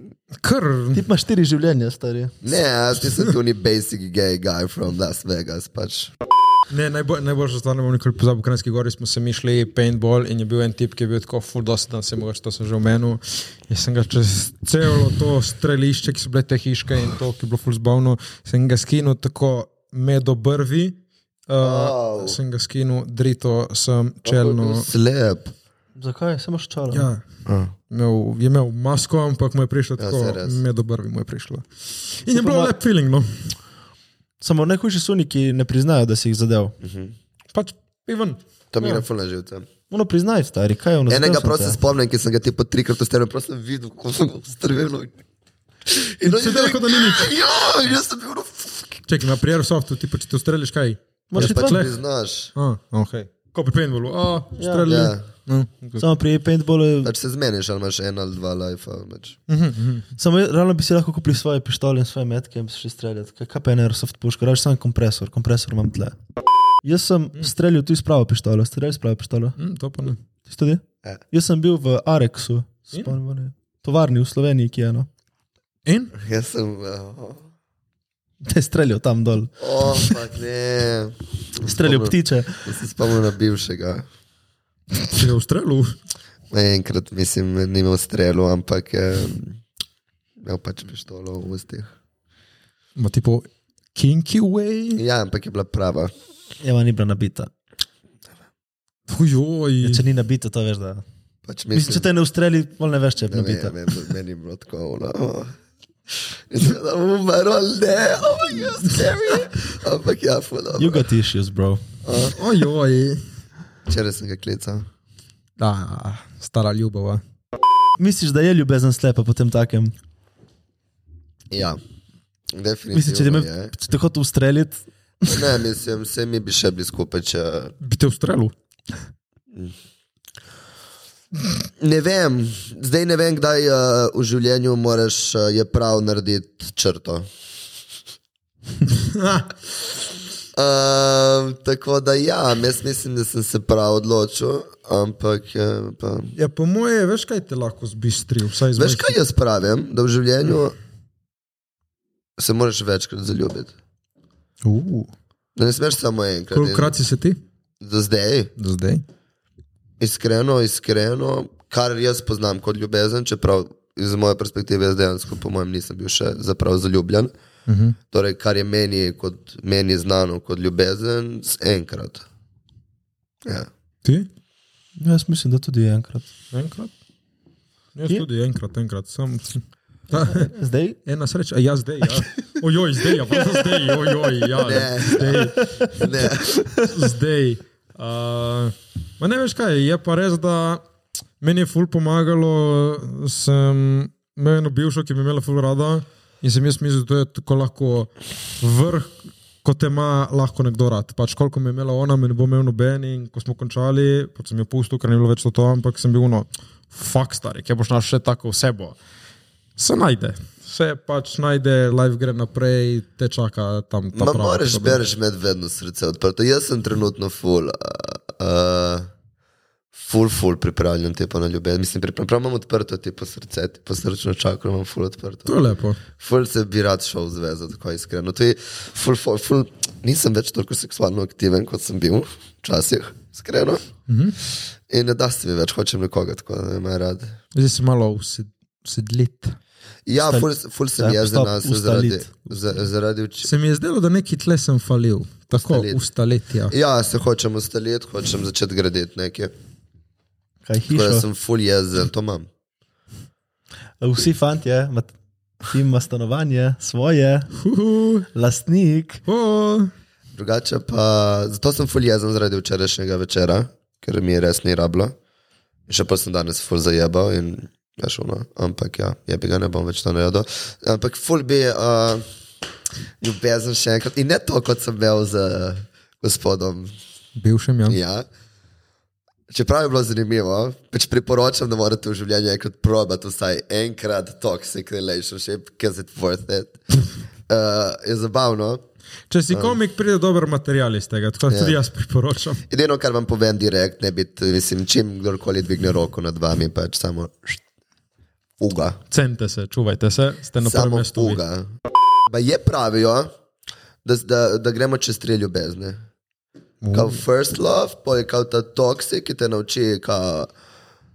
Speaker 1: Kar,
Speaker 3: Ti imaš štiri življenja, stari.
Speaker 4: Ne, jaz nisem tudi basic gay guy from Las Vegas. Pač.
Speaker 1: ne, najbolj, najboljša stvar, ne bom nikoli pozabil, v Kranjski gori smo se mi šli paintball in je bil en tip, ki je bil tako full dosedan, se mogoče to sem že omenil. Jaz sem ga čez celo to strelišče, ki so bile te hiške in to, ki je bilo full zbavno, sem ga skinil tako med obrvi, uh,
Speaker 4: Au.
Speaker 1: oh. sem ga skinil drito, sem čelno.
Speaker 4: Slep.
Speaker 3: Zakaj? Samo ščalo.
Speaker 1: Ja. Imel, je imel masko, ampak mu je prišlo
Speaker 4: Ja,
Speaker 1: tako,
Speaker 4: saj res.
Speaker 1: med obrvi mu je prišlo. In je
Speaker 3: pa
Speaker 1: bilo
Speaker 3: ma-
Speaker 1: lep feeling, no.
Speaker 3: Samo najhujši so oni, ki ne priznajo, da si jih zadev.
Speaker 1: Pač, Ivan.
Speaker 4: To mi je fulno živce.
Speaker 3: Ono priznaj, stari, kaj je ono?
Speaker 4: Enega
Speaker 3: zadev sem
Speaker 4: prosim
Speaker 3: te.
Speaker 4: spomnim, ki sem ga ti po trikrat ustrelil, prosim videl, kako sem ga ustrelil. In on je
Speaker 1: se dela, kot da ni nič.
Speaker 4: Ja, jaz sem bil, no, fuck.
Speaker 1: Čekaj, na prijeru softu, ti pa če te ustreliš kaj?
Speaker 3: Moraš
Speaker 4: Ja,
Speaker 3: iti
Speaker 4: pač
Speaker 3: ven.
Speaker 4: priznaš.
Speaker 1: A, ok. Ko pri paintballu, a, ustrelili.
Speaker 4: Ja.
Speaker 1: No,
Speaker 3: Samo pri paintballu,
Speaker 4: Pač se zmeniš, ali imaš en ali dva lajfa. Pač.
Speaker 3: samo jaz- realno bi si lahko kupil svoje pištole in svoje metke in bi šli streljati. Kaj, kaj pa je na airsoft puško, raje sem kompresor, kompresor imam tle. Jaz sem streljal tu iz pravo pištolo, streljal iz pravo pištolo.
Speaker 1: hm, to pa ne.
Speaker 3: Ti tudi?
Speaker 4: Ja.
Speaker 3: Jaz sem bil v Areksu, spomnim se, tovarni v Sloveniji, ki je no. eno.
Speaker 1: In?
Speaker 4: Jaz sem. Uh,
Speaker 3: Te je streljal tam dol,
Speaker 4: oh, fuck, ne.
Speaker 3: streljal ptiče.
Speaker 4: Jaz Se spomnim na bivšega.
Speaker 1: Si ga ustrelil?
Speaker 4: Enkrat, mislim, ni imel strelu, ampak je imel pač pištolo v ustih.
Speaker 1: Ma tipo, kinky way?
Speaker 4: Ja, ampak je bila prava.
Speaker 3: Eva ni bila nabita. Ja,
Speaker 1: Hujoj.
Speaker 3: če ni nabita, to veš, da.
Speaker 4: Pač
Speaker 3: Mislim, če te ne ustreli, pol ne veš, če je
Speaker 4: Ne vem,
Speaker 3: nabita.
Speaker 4: ne vem, meni je bilo tako. ono, oh. In sem rekel, umrl, ne, oh my god, scary. Ampak ja, fudo.
Speaker 3: You got issues, bro.
Speaker 1: Ojoj.
Speaker 4: Včeraj sem ga klical.
Speaker 1: Da, stara ljubava.
Speaker 3: Misliš, da je ljubezen slepa po tem takem?
Speaker 4: Ja, definitivno.
Speaker 3: Mislim, če te, me,
Speaker 4: je.
Speaker 3: če te hoče ustreliti,
Speaker 4: Ne, mislim, se mi bi še bili skupaj, če...
Speaker 1: Bi te ustrelil?
Speaker 4: Ne vem, zdaj ne vem, kdaj uh, v življenju moraš, uh, je prav narediti črto. Uh, tako da ja, jaz mislim, da sem se prav odločil, ampak eh, pa,
Speaker 1: Ja, po moje, veš kaj te lahko zbistri, vsaj
Speaker 4: Veš,
Speaker 1: izveš.
Speaker 4: kaj jaz pravim, da v življenju se moraš večkrat zaljubiti.
Speaker 1: Uh,
Speaker 4: Da ne smeš samo enkrat.
Speaker 1: kolikrat si se ti?
Speaker 4: In Do zdaj,
Speaker 1: Do zdaj.
Speaker 4: iskreno, iskreno, kar jaz poznam kot ljubezen, čeprav iz moje perspektive jaz dejansko, po mojem, nisem bil še zaprav zaljubljen. Uh -huh. Torej, kar je meni, kot, meni znano kot ljubezen, z enkrat. Ja.
Speaker 1: Ti?
Speaker 3: No, jaz mislim, da tudi enkrat.
Speaker 1: Enkrat? Jaz
Speaker 3: Ti?
Speaker 1: tudi enkrat, enkrat. Sam...
Speaker 3: Zdaj,
Speaker 1: Ena sreča, ja, zdaj. Ja. Ojoj, zdaj, ja, pa zdaj, ojoj, ja.
Speaker 4: Ne.
Speaker 1: Zdaj.
Speaker 4: Ne.
Speaker 1: zdaj. Uh, ma ne veš kaj, je pa res, da meni je ful pomagalo, sem imel eno bivšo, ki mi je imela ful rada in sem jaz mislil, da je tako lahko vrh, kot te ima lahko nekdo rad. Pač koliko mi je imela ona, me ne bo imel noben in ko smo končali, pač sem jo pustil, ker ni bilo več to, to ampak sem bil no, fakt star, kje boš našel še tako osebo. Se najde. Se pač najde, life gre naprej, te čaka tam. ta
Speaker 4: Ma
Speaker 1: prava
Speaker 4: moraš,
Speaker 1: oseba.
Speaker 4: bereš med vedno srce odprto. Jaz sem trenutno full, uh, uh, full, full pripravljen tipo na ljubezen. Mislim, pripravljen, prav imam odprto tipo srce, tipo srčno čakro imam full
Speaker 1: To
Speaker 4: odprto.
Speaker 1: je lepo.
Speaker 4: Ful se bi rad šel v zvezo, tako iskreno. To je ful, ful, ful. Nisem več toliko seksualno aktiven, kot sem bil včasih, iskreno. Mm
Speaker 3: Mhm.
Speaker 4: -hmm. In ne da se mi več, hočem nekoga tako, da me ima rad.
Speaker 1: Zdaj si malo used, usedlit.
Speaker 4: Ja,
Speaker 3: Ustal-
Speaker 4: ful, ful sem
Speaker 3: Ja,
Speaker 4: jezen
Speaker 3: stop,
Speaker 4: na sebe zaradi,
Speaker 3: ustalit.
Speaker 4: za, zaradi uči,
Speaker 1: Se mi je zdelo, da neki tle sem falil. Tako,
Speaker 4: Ustalit.
Speaker 1: ustaliti. Ja.
Speaker 4: Ja, se hočem ustaliti, hočem začeti graditi nekaj.
Speaker 3: kaj
Speaker 4: Tako da
Speaker 3: hiša?
Speaker 4: sem full jezen, to imam.
Speaker 3: Vsi fanti, ti ima stanovanje, svoje,
Speaker 1: Uhu,
Speaker 3: lastnik.
Speaker 1: o,
Speaker 4: Drugače pa, zato sem full jezen zaradi včerajšnjega večera, ker mi je res ni rablo. In še pa sem danes full zajebal in veš, ono, ampak ja, je bi ga ne bom več to naredil. Ampak full bi uh, ljubezen še enkrat in ne to, kot sem imel z uh, gospodom.
Speaker 1: bivšem, ja.
Speaker 4: Ja. Čeprav je bilo zanimivo, pač priporočam, da morate v življenju enkrat probati vsaj enkrat toxic relationship, because it's worth it. Uh, je zabavno,
Speaker 1: Če
Speaker 3: Ehm.
Speaker 1: si komik, pride dober material iz tega, tako da
Speaker 3: Ja.
Speaker 1: tudi jaz priporočam.
Speaker 4: Edino, kar vam povem direkt, ne biti, mislim, čim kdorkoli dvigne roko nad vami, pač samo št, uga.
Speaker 1: Cenite se, čuvajte se, ste na prvem
Speaker 4: Samo
Speaker 1: mestu. vi.
Speaker 4: uga. Pa je pravijo, da, z- da, da gremo čez tri ljubezne.
Speaker 1: Uh.
Speaker 4: Kao first love, pa je kao ta toksik, ki te nauči kao,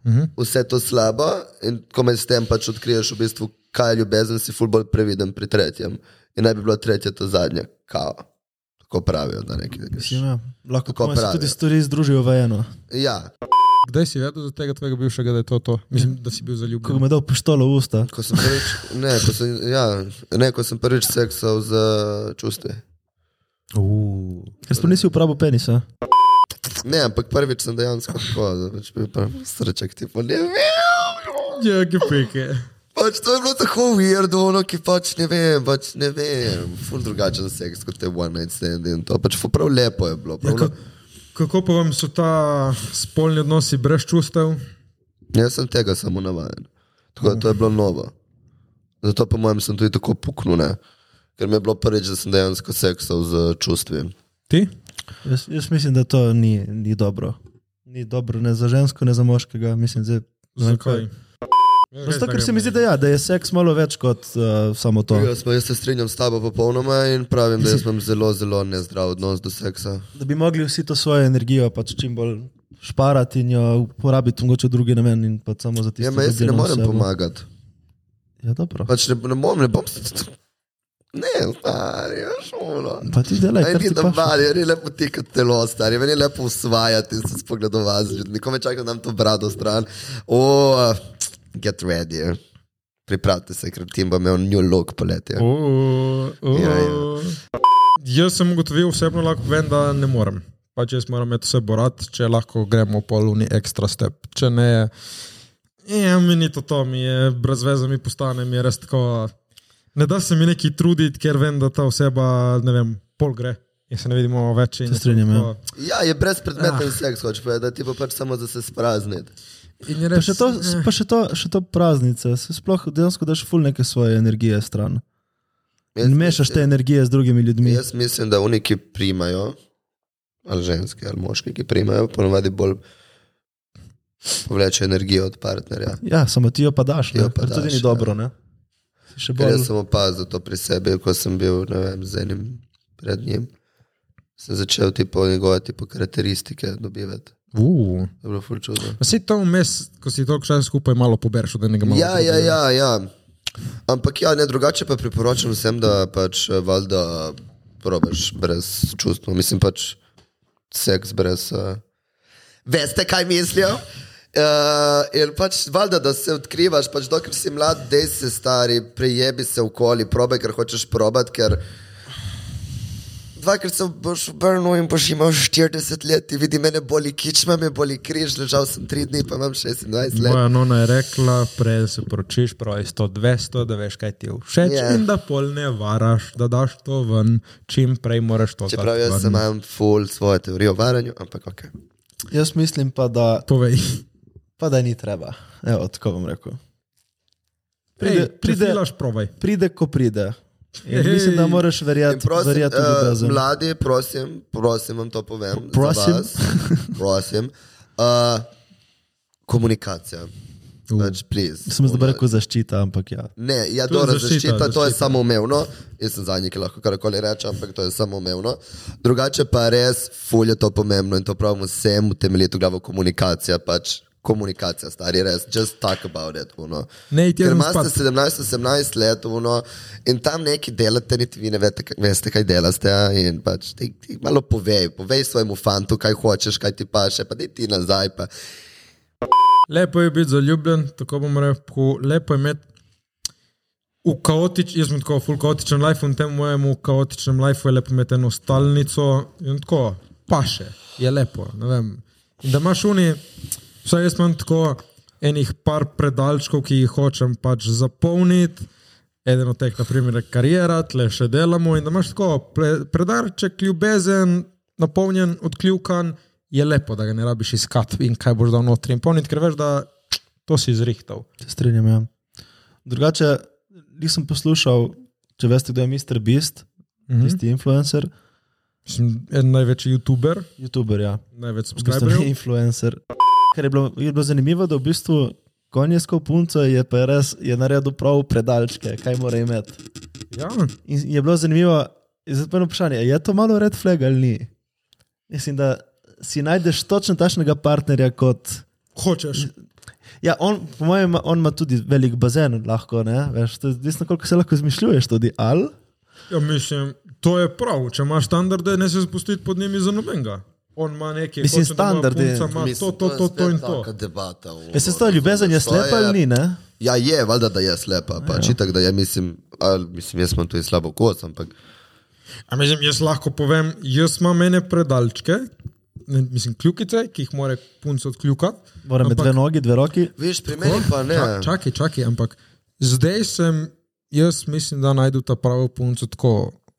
Speaker 1: Mhm.
Speaker 4: vse to slabo in ko me s tem pač odkriješ v bistvu, kaj je ljubezen, si ful bolj previden pri tretjem. In naj bi bilo tretje to zadnje, kao. Tako pravijo, da nekaj.
Speaker 3: Mislim, ja. Lahko
Speaker 4: Tako ja.
Speaker 3: komaj se
Speaker 4: pravijo.
Speaker 3: tudi stvari združijo v eno.
Speaker 4: Ja,
Speaker 1: Kdaj si vedel za tega tvojega bivšega, da je to to? Mislim, da si bil
Speaker 3: Ko bi
Speaker 1: zaljubljen.
Speaker 3: mi dal pištolo v usta,
Speaker 4: ko sem prvič, ne, ko sem, ja, ne, ko sem prvič seksal z čustvi. Uh.
Speaker 3: ker sploh nisi uporabil penisa.
Speaker 4: Ne, ampak prvič sem dejansko tako, da pač bil pa srček, tipo, ne vem.
Speaker 1: Ja, gepike.
Speaker 4: Pač to je bilo tako uvirdo, ono, ki pač ne vem, pač ne vem. Ful drugačen seks kot te one night stand in to. Pač ful prav lepo je bilo. Prav,
Speaker 1: Kako,
Speaker 4: ja,
Speaker 1: kako pa vam so ta spolni odnosi brez čustev?
Speaker 4: Jaz sem tega samo navaden. Tako da to je bilo novo. Zato po mojem sem tudi tako puknul, ne? ker mi je bilo prvič, da sem dejansko seksal z čustvi.
Speaker 1: Ti?
Speaker 3: Jaz, jaz mislim, da to ni, ni dobro. Ni dobro ne za žensko, ne za moškega. Mislim, zdaj, ne vem, kaj-
Speaker 1: Zakaj?
Speaker 3: No, Zato, ker se mi zdi, da, ja, da je seks malo več kot uh, samo to.
Speaker 4: Jaz, pa, jaz se strinjam s tabo popolnoma in pravim, da jaz imam zelo, zelo nezdrav odnos do seksa.
Speaker 3: Da bi mogli vsi to svojo energijo pač čim bolj šparati in jo uporabiti mogoče v drugi namen in pa samo za tiste,
Speaker 4: Ja, ma jaz si ne morem pomagati.
Speaker 3: no. Ja, dobro.
Speaker 4: Pač ne, ne bom, ne bom. s- Ne, stari, veš, ono.
Speaker 3: Pa ti delaj,
Speaker 4: Aj,
Speaker 3: kar
Speaker 4: ni
Speaker 3: ti
Speaker 4: da
Speaker 3: paše.
Speaker 4: bali, je res lepo tikati telo, stari, meni je lepo usvajati in se spogledovati z ljudmi. Ko me čaka, da nam to brado stran. O, uh, get ready. ja. Pripravite se, ker tim bo imel new look poleti. ja. Ja, ja.
Speaker 1: Jaz sem ugotovil, osebno lahko vem, da ne morem. Pač jaz moram imeti vse borat, če lahko gremo po luni ekstra step. Če ne, je, ja, mi ni to to, mi je brez veze, mi postane, mi je res tako. Ne da se mi neki truditi, ker vem, da ta oseba, ne vem, pol gre. In se ne vidimo več. in
Speaker 3: Se
Speaker 1: je to
Speaker 3: strinjam, ja.
Speaker 1: tako-
Speaker 4: Ja, je brezpredmeten ah. seks, hoče povedati, ti pa pač samo za se sprazniti.
Speaker 1: In je
Speaker 3: Pa
Speaker 1: res, eh.
Speaker 3: še to, pa še to, še to praznice, se sploh dejansko daš ful neke svoje energije stran.
Speaker 4: Jaz
Speaker 3: In mešaš te energije z drugimi ljudmi.
Speaker 4: Jaz mislim, da oni, ki primajo, ali ženske ali moški, ki primajo, ponovadi bolj povleče energijo od partnerja.
Speaker 3: Ja, samo ti jo pa daš,
Speaker 4: Ti jo
Speaker 3: ne?
Speaker 4: pa
Speaker 3: Kar tudi
Speaker 4: daš,
Speaker 3: ni
Speaker 4: ja.
Speaker 3: dobro. Ne? Si Še
Speaker 4: Ker jaz
Speaker 3: bolj
Speaker 4: sem opazil to pri sebi, ko sem bil ne vem, z enim pred njim. Sem začel tipo njegove tipo karakteristike dobivati.
Speaker 1: Uh.
Speaker 4: To je bilo ful čudno.
Speaker 1: Vsi to vmes, ko si to čas skupaj malo pobereš, da ne gremo.
Speaker 4: Ja, ja, ja, ja. Ampak ja, ne drugače pa priporočam vsem, da pač eh, valjda probaš brez čustva. Mislim pač seks brez. Uh, veste, kaj mislijo? Uh, in pač valjda, da se odkrivaš, pač dokler si mlad, dej se stari, prejebi se okoli, probe, ker hočeš probat, ker Dvakrat sem boš obrnil in boš imel 40 let, ti vidi, mene boli kičma, me boli križ, ležal sem 3 dni, pa imam 26 let.
Speaker 1: Moja nona je rekla, prej se poročiš, pravi 100, 200, da veš, kaj ti je všeč
Speaker 4: Ja.
Speaker 1: yeah. in da pol ne varaš, da daš to ven, čim prej moraš to
Speaker 4: Čeprav
Speaker 1: dati
Speaker 4: jaz
Speaker 1: ven.
Speaker 4: sem imam full svoje teorije o varanju, ampak
Speaker 3: Ja,
Speaker 4: ok.
Speaker 3: Jaz mislim pa, da,
Speaker 1: Povej,
Speaker 3: pa, da ni treba. Evo, tako bom rekel.
Speaker 1: pride,
Speaker 3: Pride, Ej, pride,
Speaker 1: pride, pride.
Speaker 3: pride ko pride. In
Speaker 1: Ej.
Speaker 3: mislim, da moraš
Speaker 4: In
Speaker 3: verjeti,
Speaker 4: Prosim,
Speaker 3: verjeti v
Speaker 4: uh,
Speaker 3: ljubezen.
Speaker 4: mladi, prosim, prosim, vam to povem. za
Speaker 3: Prosim.
Speaker 4: vas. prosim. Uh, komunikacija. Pač, please.
Speaker 3: Sem zdaj rekel zaščita, ampak ja.
Speaker 4: Ne, ja,
Speaker 1: To je
Speaker 4: dobro,
Speaker 1: zaščita,
Speaker 4: zaščita, zaščita, to je
Speaker 1: zaščita.
Speaker 4: samoumevno. Jaz sem zadnji, ki lahko karkoli reče, ampak to je samoumevno. Drugače pa res, fulje to pomembno in to pravimo vsem utemeljito glavo komunikacija. Pač komunikacija, stari res, just talk about it. Uno.
Speaker 1: Ne, iti
Speaker 4: Ker
Speaker 1: en
Speaker 4: imate
Speaker 1: spad.
Speaker 4: 17, 18 let uno, in tam neki delate, niti vi ne veste, kaj, veste, kaj delate. a, In pač ti, ti malo povej, povej svojemu fantu, kaj hočeš, kaj ti paše, pa daj ti nazaj. Pa.
Speaker 1: Lepo je biti zaljubljen, tako bom rekel, lepo je imeti. V kaotičnem, jaz sem tako full kaotičen life in v tem mojemu kaotičnem life je lepo imeti eno stalnico in tako, paše, je lepo. ne vem. In da imaš uni, vsaj jaz imam tako enih par predalčkov, ki jih hočem pač zapolniti. Eden od teh, na primer, je karijera, tle še delamo in da imaš tako pre, predarček, ljubezen, napolnjen, odkljukan, je lepo, da ga ne rabiš iskati in kaj boš dal notri in polniti, ker veš, da to si izrihtal.
Speaker 3: Se strinjam. Ja. Drugače, nisem poslušal, če veste, kdo je Mr. Beast, mm -hmm. tisti influencer,
Speaker 1: Mislim, en največji YouTuber,
Speaker 3: YouTuber, ja.
Speaker 1: največ
Speaker 3: v bistvu ni
Speaker 1: subskriberjev.
Speaker 3: influencer. Kar je bilo, je bilo zanimivo, da v bistvu konjsko punco je pa res je naredil prav predalčke, kaj mora imeti.
Speaker 1: Ja,
Speaker 3: In je bilo zanimivo, zapomnil vprašanje, je to malo red flag ali ni? Mislim, da si najdeš točno takšnega partnerja kot.
Speaker 1: hočeš.
Speaker 3: Ja, on, po mojem, ima- on ima tudi velik bazen, lahko, ne, veš, to je odvisno, koliko se lahko izmišljuješ tudi, ali.
Speaker 1: Ja, mislim, to je prav. Če imaš standarde, ne se spustiti pod njimi za nobenega. On ima neke
Speaker 3: Mislim,
Speaker 1: hoče, da moja
Speaker 3: standardi.
Speaker 1: punca Ima
Speaker 4: Mislim,
Speaker 1: to, to,
Speaker 4: je
Speaker 1: to,
Speaker 4: spet
Speaker 1: to in to.
Speaker 4: taka Debata, ono,
Speaker 3: Ja, se stoj, ljubezen je
Speaker 4: razumeš, to
Speaker 3: slepa ali ni, ne?
Speaker 4: Ja, je, valjda, da je slepa.
Speaker 1: Ja.
Speaker 4: Pa, čitak, da je, mislim, ali, mislim, jaz imam tudi slabo kost, ampak
Speaker 1: A mislim, jaz lahko povem, jaz imam mene predalčke, ne, mislim, kljukice, ki jih mora punca odkljukati.
Speaker 3: Mora imeti
Speaker 1: Ampak-
Speaker 3: dve nogi, dve roki.
Speaker 4: Veš, pri meni pa ne.
Speaker 1: Čak- Čakaj, čakaj, ampak zdaj sem, jaz mislim, da najdu ta pravo punco tako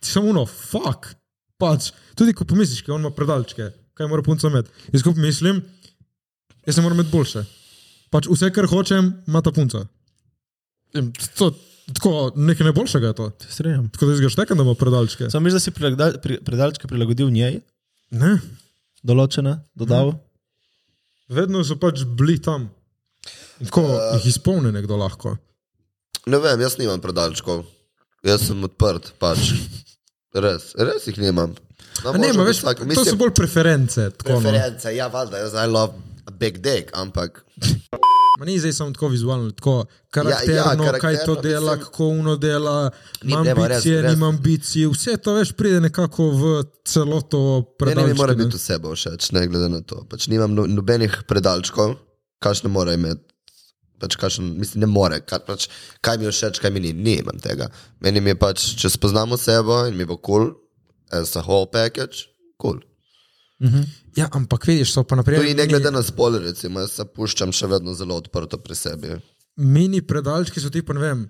Speaker 1: ti samo ono, fuk, pač, tudi ko pomisliš, ki on ima predalčke, kaj mora punca imeti. Jaz ko mislim, jaz se moram imeti boljše. Pač vse, kar hočem, ima ta punca. In to, tako, nekaj najboljšega je to.
Speaker 3: Strejam.
Speaker 1: Tako da jaz ga štekam, da ima predalčke.
Speaker 3: Sam misliš, da si prilagda- pri- predalčke prilagodil njej,
Speaker 1: Ne,
Speaker 3: določene, dodal.
Speaker 1: vedno so pač bili tam. In Tako uh, jih izpolni nekdo lahko.
Speaker 4: Ne vem, jaz nimam predalčkov. Jaz sem odprt, pač. Res, res jih nimam. No,
Speaker 1: A Ne, ma, veš, to so bolj preference. Tako, no.
Speaker 4: Reference, ja, valjda, jaz I love a big dick, ampak
Speaker 1: Ma Ni zdaj samo tako vizualno, tako karakterno, ja, ja,
Speaker 4: karakterno,
Speaker 1: karakterno kaj to
Speaker 4: mislim-
Speaker 1: dela, mislim, kako uno dela,
Speaker 4: Ni
Speaker 1: ima
Speaker 4: treba, res,
Speaker 1: ambicije,
Speaker 4: res.
Speaker 1: nima ambicij, vse to več pride nekako v celoto
Speaker 4: meni mi
Speaker 1: predalčke.
Speaker 4: mora
Speaker 1: ne.
Speaker 4: biti vse bo všeč, ne glede na to. Pač nimam no, nobenih predalčkov, kakšne mora imeti. Pač kakšen, mislim, ne more, kar, pač, kaj mi je všeč, kaj mi ni, nimam tega. Meni mi je pač, če spoznamo sebe in mi bo kul, cool, as a whole package, kul. Cool.
Speaker 1: Ja, ampak vidiš, so pa naprej.
Speaker 4: Tudi ne glede na spol, recimo, jaz se puščam še vedno zelo odprto pri sebi.
Speaker 1: mini predalčki so ti pa ne vem.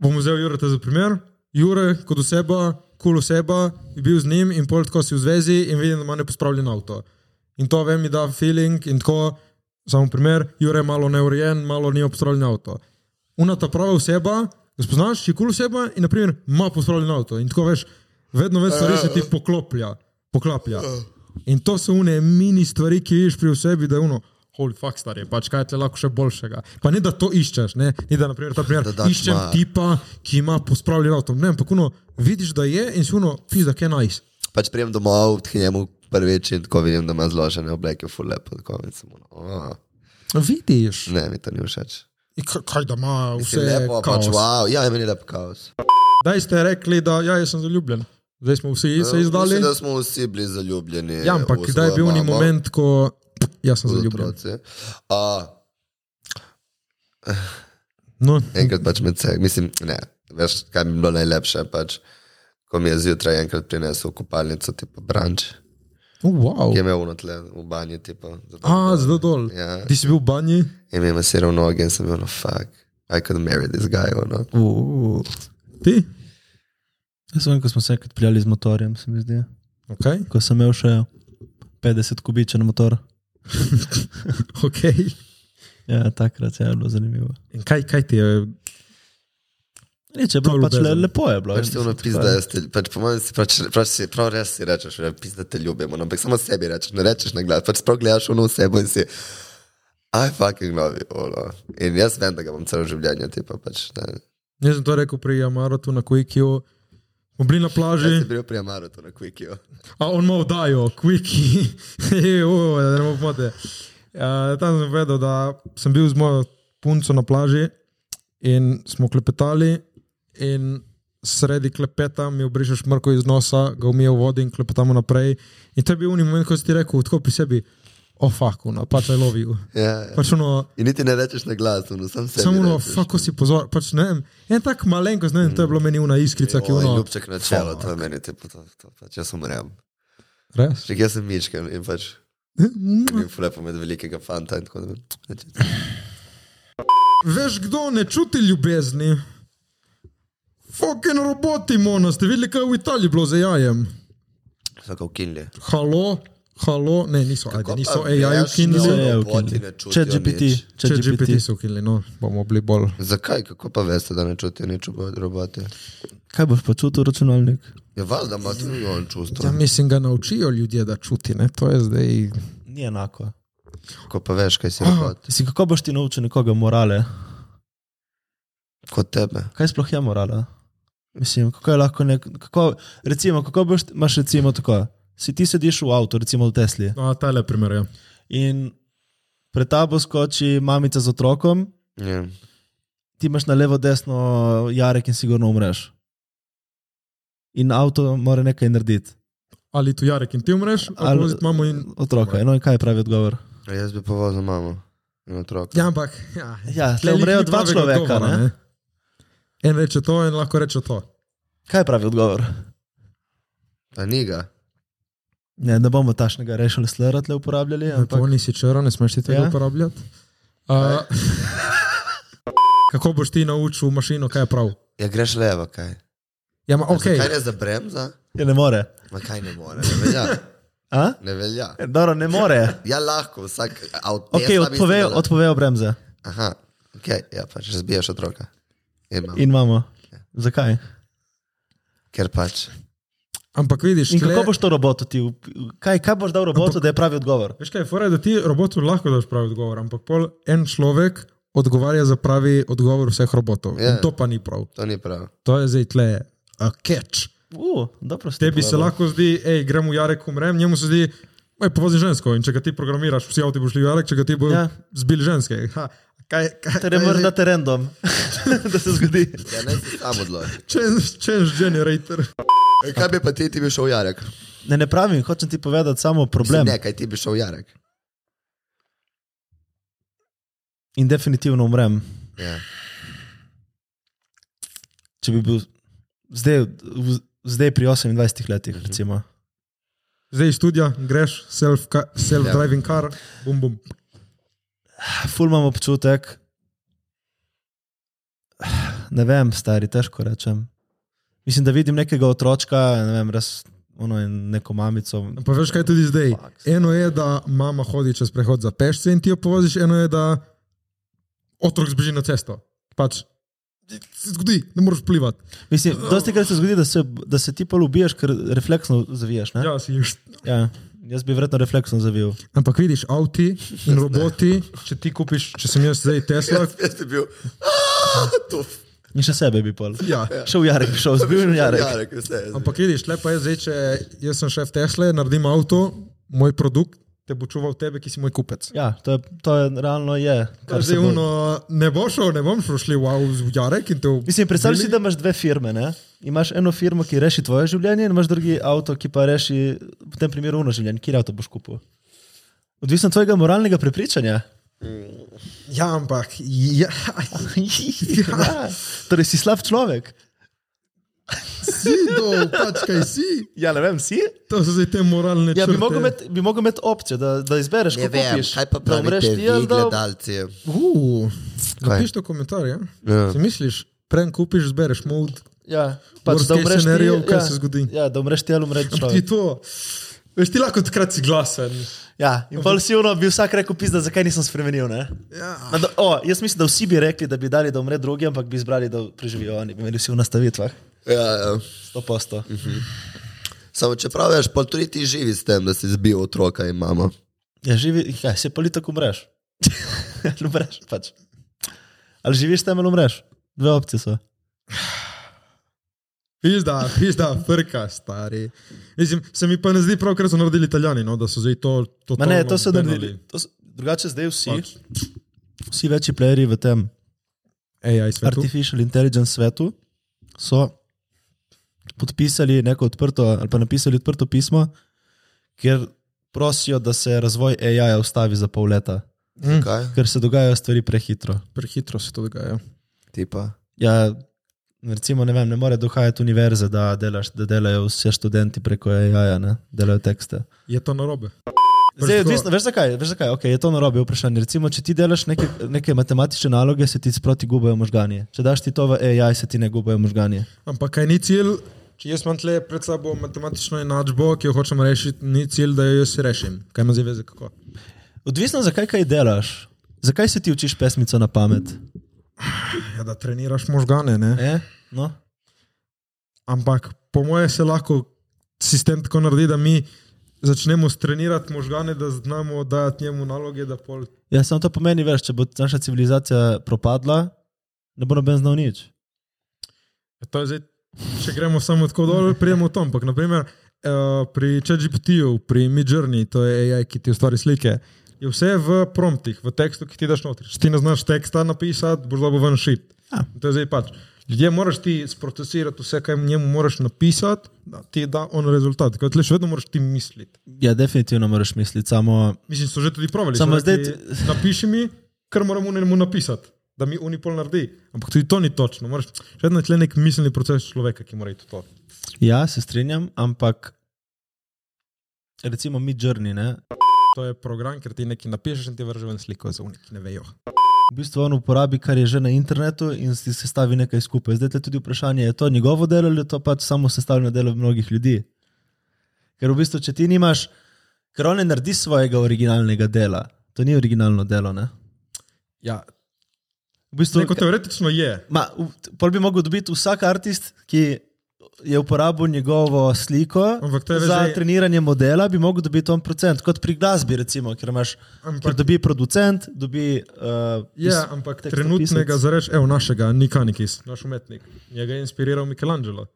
Speaker 1: Bom vzel Jureta za primer. Jure, kot oseba, kul cool oseba, je bil z njim in pol tako si v zvezi in vidim, da ima nepospravljen avto. In to vem, mi da feeling in tako, samo primer, Jure je malo neurejen, malo ni pospravljen avto. Una ta prava oseba, ga spoznaš, je kul cool oseba in naprimer ima pospravljen avto. In tako veš, vedno več stvari se ti
Speaker 4: Ja,
Speaker 1: pokloplja. poklaplja. In to so une mini stvari, ki jih vidiš pri osebi, da je uno. Holy fuck, star je, pač kaj je tle lahko še boljšega. Pa ne da to iščeš, ne, ne da naprimer, ta primer,
Speaker 4: Da
Speaker 1: da
Speaker 4: daš
Speaker 1: iščem
Speaker 4: ma-
Speaker 1: tipa, ki ima pospravljen avto. Ne, ampak uno, vidiš, da je in si uno, pizda, kaj najs.
Speaker 4: Pač prijem domov, thnjemu prvič in tako vidim, da ima zložene obleke, full lepo. Tako, in sem, ono, "Ah,
Speaker 1: Vidiš.
Speaker 4: ne, mi to ni všeč.
Speaker 1: In Kaj, kaj da ima
Speaker 4: Vse
Speaker 1: vse
Speaker 4: lepo, pač
Speaker 1: kaos.
Speaker 4: wow, ja, meni je lep kaos.
Speaker 1: Daj ste rekli, da ja, jaz sem zaljubljen. Zdaj smo vsi se izdali.
Speaker 4: Eh, Mislim, da smo vsi bili zaljubljeni.
Speaker 1: Ja, ampak
Speaker 4: v
Speaker 1: kdaj je
Speaker 4: svojo
Speaker 1: bil ni
Speaker 4: mamo,
Speaker 1: moment, ko jaz sem
Speaker 4: kot
Speaker 1: zaljubljen.
Speaker 4: otroci. A,
Speaker 1: No,
Speaker 4: Enkrat pač med seboj, mislim, ne, veš, kaj bi bilo najlepše, pač, ko mi je zjutraj enkrat prinesel v kopalnico, tipo branč,
Speaker 1: oh, wow.
Speaker 4: ki je imel unotle v banji, tipo. zato-
Speaker 1: A, zelo dol.
Speaker 4: Ja.
Speaker 1: Ti si bil v banji?
Speaker 4: in mi je masiral noge in sem bil, no, fuck, I could marry this guy, ono.
Speaker 1: Uh. Ti?
Speaker 3: Jaz vem, ko smo se enkrat prijali z motorjem, se mi zdi,
Speaker 1: Okay.
Speaker 3: ko sem imel še 50 kubičen motor.
Speaker 1: Okay.
Speaker 3: Ja, takrat ja, je bilo zanimivo.
Speaker 1: In kaj, kaj ti je?
Speaker 3: Nič, je bilo
Speaker 1: je
Speaker 3: pač le,
Speaker 1: ljubezen.
Speaker 3: lepo je bilo.
Speaker 4: Pač ti ono
Speaker 3: Mislim,
Speaker 4: pizda,
Speaker 3: tako je.
Speaker 4: jaz te, pač po mojem si, pač, pač si prav res si rečeš, da pizda te ljubim, ono, ampak samo sebi rečeš, ne rečeš na glas, pač prav gledaš ono osebo in si, I fucking love you, ono. In jaz vem, da ga bom celo življenje, tipo, pač, ne.
Speaker 1: Jaz sem to rekel pri Amaratu na Quickiu. Smo bili na
Speaker 4: Jaz
Speaker 1: plaži,
Speaker 4: sem bil pri Amaru, to na Quickiju.
Speaker 1: a on ima oddajo, Quicki, Ejo, da ja, ne bo pomode. Uh, tam sem vedel, da sem bil z mojo punco na plaži in smo klepetali. In sredi klepeta mi obrišeš mrko iz nosa, ga umije v vodi in klepetamo naprej. In to je bil unik moment, ko si ti rekel, tako pri sebi, o faku, no, pač I love you.
Speaker 4: Ja, ja.
Speaker 1: Pač ono,
Speaker 4: In niti ne rečeš na glas, no, sam se.
Speaker 1: samo ono, fako si pozor, pač ne vem. En tak malenkost, ne vem, to je bilo meni una iskrica, ki je ono.
Speaker 4: Ljubček na čelo, to je meni, tipo, to, to, pač jaz umrem.
Speaker 1: Res?
Speaker 4: Če jaz sem mičken in pač. In flepo med velikega fanta in tako pač, naprej.
Speaker 1: Veš, kdo ne čuti ljubezni? Fucking roboti, mono, ste videli, kaj je v Italiji bilo z jajem?
Speaker 4: So ga ukinili.
Speaker 1: Halo, halo, ne, niso, ajde, niso AI
Speaker 3: da
Speaker 1: ukinili.
Speaker 3: je Če GPT, če
Speaker 1: Če GPT
Speaker 3: GPT.
Speaker 1: so ukinili, no, bomo bili bolj.
Speaker 4: Zakaj, kako pa veste, da ne čutijo nič od robota?
Speaker 3: Kaj boš počutil, računalnik?
Speaker 4: Ja, valjda ima tudi on čustvo.
Speaker 1: Ja, mislim, ga naučijo ljudje, da čuti, ne, to je zdaj.
Speaker 3: Ni enako.
Speaker 4: Kako pa veš, kaj si robot?
Speaker 3: Si, kako boš ti naučil nekoga morale?
Speaker 4: Kot tebe.
Speaker 3: Kaj sploh je morala? Mislim, kako je lahko nek. Kako, recimo, kako boš, imaš recimo tako. Si ti sediš v avtu, recimo v Tesli,
Speaker 1: No, ta le primer, ja.
Speaker 3: in pred tabo skoči mamica z otrokom,
Speaker 4: Ja.
Speaker 3: ti imaš na levo, desno eh, jarek in sigurno umreš. In avto mora nekaj narediti.
Speaker 1: Ali tu Jarek in ti umreš, ali
Speaker 3: Ali-
Speaker 1: pa imamo in.
Speaker 3: Otroka, no in kaj je pravi odgovor?
Speaker 4: A Jaz bi povozil mamo in otroka.
Speaker 1: Ja, ampak. Ja,
Speaker 3: Ja,
Speaker 1: tle
Speaker 3: tle umrejo
Speaker 1: ni
Speaker 3: dva
Speaker 1: pravega
Speaker 3: človeka, ne?
Speaker 1: En reče to, en lahko reče to.
Speaker 3: Kaj je pravi odgovor?
Speaker 4: A ni ga.
Speaker 3: Ne, ne bomo tašnega rešili, slera tle uporabljali, ampak
Speaker 1: Polni si črn, ne smeš ti tega
Speaker 3: Ja.
Speaker 1: ja. uporabljati. Uh, kako boš ti naučil mašino, kaj je prav?
Speaker 4: Ja, greš levo, kaj?
Speaker 1: Ja, ma,
Speaker 4: Okay. Kaj
Speaker 1: okay.
Speaker 4: ne za bremza?
Speaker 3: je ne more.
Speaker 4: Ma kaj ne more, ne velja.
Speaker 3: A?
Speaker 4: Ne velja.
Speaker 3: E, Dobro, ne more.
Speaker 4: Ja, lahko, vsak avto.
Speaker 3: Ok, odpovejo, odpovejo bremze.
Speaker 4: Aha, ok, ja, pač razbijaš otroka. Ima.
Speaker 3: In imamo. Zakaj?
Speaker 4: Ker pač.
Speaker 1: Ampak vidiš,
Speaker 3: In
Speaker 1: tle-
Speaker 3: kako boš to robotu ti? v- Kaj, kaj boš dal robotu, da je pravi odgovor?
Speaker 1: Veš kaj, fora je, da ti robotu lahko daš pravi odgovor, ampak pol en človek odgovarja za pravi odgovor vseh robotov.
Speaker 4: Ja.
Speaker 1: Yeah. To pa ni prav.
Speaker 4: To ni prav.
Speaker 1: To je zdaj tle, a catch.
Speaker 3: Uh, dobro, ste
Speaker 1: Tebi se
Speaker 3: povedali.
Speaker 1: lahko zdi, hej, gremo v Jarek, umrem, njemu se zdi, hej, povozi žensko in če ga ti programiraš, vsi avti boš šli v Jarek, če ga ti bo
Speaker 3: Ja.
Speaker 1: yeah. zbil ženske. Ha, kaj, kaj,
Speaker 3: Torej, moraš dati random, da se zgodi.
Speaker 4: Ja, ne si sam odloči.
Speaker 1: Change, change generator.
Speaker 4: E, Kaj bi pa ti, ti bi šel v Jarek?
Speaker 3: Ne, ne pravim, hočem ti povedati samo
Speaker 4: Mislim,
Speaker 3: problem.
Speaker 4: Ne, kaj ti bi šel v Jarek.
Speaker 3: In definitivno umrem.
Speaker 4: Ja.
Speaker 3: Če bi bil zdaj, v- zdaj pri 28 letih,
Speaker 1: Mhm.
Speaker 3: recimo.
Speaker 1: Zdaj iz študija greš, self ka- self-driving self car, bum bum.
Speaker 3: Ful imam občutek, ne vem, stari, težko rečem. Mislim, da vidim nekega otročka, ne vem, res ono in neko mamico.
Speaker 1: Pa veš kaj tudi zdaj? Eno je, da mama hodi čez prehod za pešce in ti jo povoziš, eno je, da otrok zbeži na cesto. Pač se zgodi, ne moreš plivati.
Speaker 3: Mislim, dosti krat se zgodi, da se, da se ti pa ubiješ, ker refleksno zaviješ. ne?
Speaker 1: Ja, si.
Speaker 3: Ja, jaz bi verjetno refleksno zavil.
Speaker 1: Ampak vidiš, avti in roboti, če ti kupiš, če sem jaz zdaj Tesla,
Speaker 4: Jaz bi bil. To
Speaker 3: In še sebe bi pol.
Speaker 1: ja.
Speaker 3: Šel v Jarek, bi šel zbil in Jarek.
Speaker 4: Jarek, vse. je zdaj.
Speaker 1: Ampak vidiš, lepo je zdaj, če jaz sem šef Tesla, naredim avto, moj produkt, te bo čuval tebe, ki si moj kupec.
Speaker 3: Ja, to je, to je realno je. kar
Speaker 1: Ja,
Speaker 3: se
Speaker 1: Zdaj,
Speaker 3: bo-
Speaker 1: uno, ne bo šel, ne bom šel, šli v avto, v Jarek in te v...
Speaker 3: Mislim, predstavljaj si, da imaš dve firme. Ne? Imaš eno firmo, ki reši tvoje življenje, in imaš drugi avto, ki pa reši v tem primeru uno življenje. Kje avto boš kupil? Odvisno od tvojega moralnega prepričanja.
Speaker 1: Ja, ampak. Ja,
Speaker 3: Ja. Torej, si slab človek.
Speaker 1: si dol, pač kaj si.
Speaker 3: Ja, ne vem, si.
Speaker 1: To so zdaj te moralne
Speaker 3: Ja, bi
Speaker 1: črte.
Speaker 3: mogel imeti- bi mogel imeti opcijo, da, da izbereš,
Speaker 4: Ne
Speaker 3: kako
Speaker 4: vem,
Speaker 3: kupiš.
Speaker 4: kaj pa
Speaker 3: Da umreš
Speaker 4: pravite
Speaker 3: ti ali
Speaker 4: vi,
Speaker 3: da-
Speaker 4: gledalci.
Speaker 1: Uh,
Speaker 4: Kaj?
Speaker 1: napiš to komentar, ja?
Speaker 4: Ja.
Speaker 1: Si misliš, preden kupiš, zbereš mod.
Speaker 3: Ja, pač,
Speaker 1: Worst
Speaker 3: da
Speaker 1: case
Speaker 3: umreš ti,
Speaker 1: scenario, kaj
Speaker 3: ja,
Speaker 1: se zgodi.
Speaker 3: Ja, da umreš ti ali umreš
Speaker 1: Ti
Speaker 3: človek.
Speaker 1: to. Veš, ti lahko takrat si glasen.
Speaker 3: Ja, in bolj si uno bi vsak rekel, pizda, zakaj nisem spremenil. Ne?
Speaker 1: Ja.
Speaker 3: Na, do, o, jaz mislim, da vsi bi rekli, da bi dali, da umre drugi, ampak bi izbrali, da preživijo oni, bi imeli vsi v nastavitvah.
Speaker 4: Ja, ja.
Speaker 3: 100%.
Speaker 4: Samo če prav veš, pa tudi ti živi s tem, da si zbil otroka in mamo.
Speaker 3: Ja, živi, ja, se pa li tako umreš. ali umreš pač. Ali živiš tam ali umreš? Dve opcije so.
Speaker 1: Pizda, pizda, frka, stari. Mislim, se mi pa ne zdi prav, ker so naredili italijani, no, da so zdaj to. to
Speaker 3: Ma ne, to so naredili. to so- Drugače zdaj vsi, vsi večji playerji v tem
Speaker 1: AI svetu.
Speaker 3: artificial intelligence svetu so podpisali neko odprto ali pa napisali odprto pismo, kjer prosijo, da se razvoj AI-ja ustavi za pol leta,
Speaker 4: Kaj?
Speaker 3: ker se dogajajo stvari prehitro.
Speaker 1: Hm, Prehitro se to dogaja.
Speaker 4: Tipa.
Speaker 3: Ja, recimo, ne, vem, ne more dohajati univerze, da, delaš, da delajo vse študenti preko AI-ja, ne? delajo tekste.
Speaker 1: Je to narobe?
Speaker 3: Zdaj,
Speaker 1: tako-
Speaker 3: odvisno, veš zakaj, veš zakaj? Okay, je to narobe vprašanje. Recimo, če ti delaš neke, neke matematične naloge, se ti sproti gubajo možganje. Če daš ti to v AI, se ti ne gubajo možganje.
Speaker 1: Ampak kaj ni cilj, če jaz imam tle pred sabo matematično enačbo, ki jo hočem rešiti, ni cilj, da jo jaz rešim. Kaj ima zveze kako?
Speaker 3: Odvisno, zakaj kaj delaš. Zakaj se ti učiš pesmico na pamet?
Speaker 1: Ja, da treniraš možgane, ne?
Speaker 3: E? No?
Speaker 1: Ampak po moje se lahko sistem tako naredi, da mi začnemo trenirati možgane, da znamo dajati njemu naloge, da pol.
Speaker 3: Ja, samo to pomeni, veš, če bo naša civilizacija propadla, ne bo noben znal nič.
Speaker 1: Ja, To je zdaj, če gremo samo tako dol, prijemo v to. Ampak naprimer, eh, pri ChatGPT-ju, pri Midjourney, to je AI, ki ti ustvari slike, je vse v promptih, v tekstu, ki ti daš noter. Če ti ne znaš teksta napisati, boš dobil ven šit.
Speaker 3: Ja.
Speaker 1: In To je zdaj pač. Ljudje moraš ti sprocesirati vse, kaj njemu moraš napisati, da ti da on rezultat. Kaj tle še vedno moraš ti misliti.
Speaker 3: Ja, definitivno moraš misliti, samo
Speaker 1: Mislim, so že tudi provali.
Speaker 3: Samo
Speaker 1: so rekli,
Speaker 3: zdaj ti-
Speaker 1: Napiši mi, kar moramo njemu napisati, da mi unipol naredi. Ampak tudi to ni točno. Moraš, še vedno je tle nek miselni proces človeka, ki mora iti v to.
Speaker 3: Ja, se strinjam, ampak recimo mi črni, ne.
Speaker 1: To je program, ker ti nekaj napišeš in ti vrže ven sliko za unik, ne vejo.
Speaker 3: V bistvu on uporabi, kar je že na internetu in si sestavi nekaj skupaj. Zdaj tu je tudi vprašanje, je to njegovo delo ali je to pač samo sestavljeno delo mnogih ljudi. Ker v bistvu, če ti nimaš, ker on ne naredi svojega originalnega dela, to ni originalno delo, ne.
Speaker 1: Ja,
Speaker 3: V bistvu,
Speaker 1: neko teoretično je.
Speaker 3: Ma, v- pol bi mogel dobiti vsak artist, ki je uporabil njegovo sliko
Speaker 1: Ampak to je
Speaker 3: za
Speaker 1: zdaj-
Speaker 3: zdaj... treniranje modela, bi mogel dobiti on procent, kot pri glasbi, recimo, ker, imaš,
Speaker 1: Ampak-
Speaker 3: Ampak... ker dobi producent, dobi. Uh,
Speaker 1: Ja, ampak
Speaker 3: tekstopisec.
Speaker 1: trenutnega zareč, evo našega, Nikanikis, naš umetnik. Njega je inspiriral Michelangelo.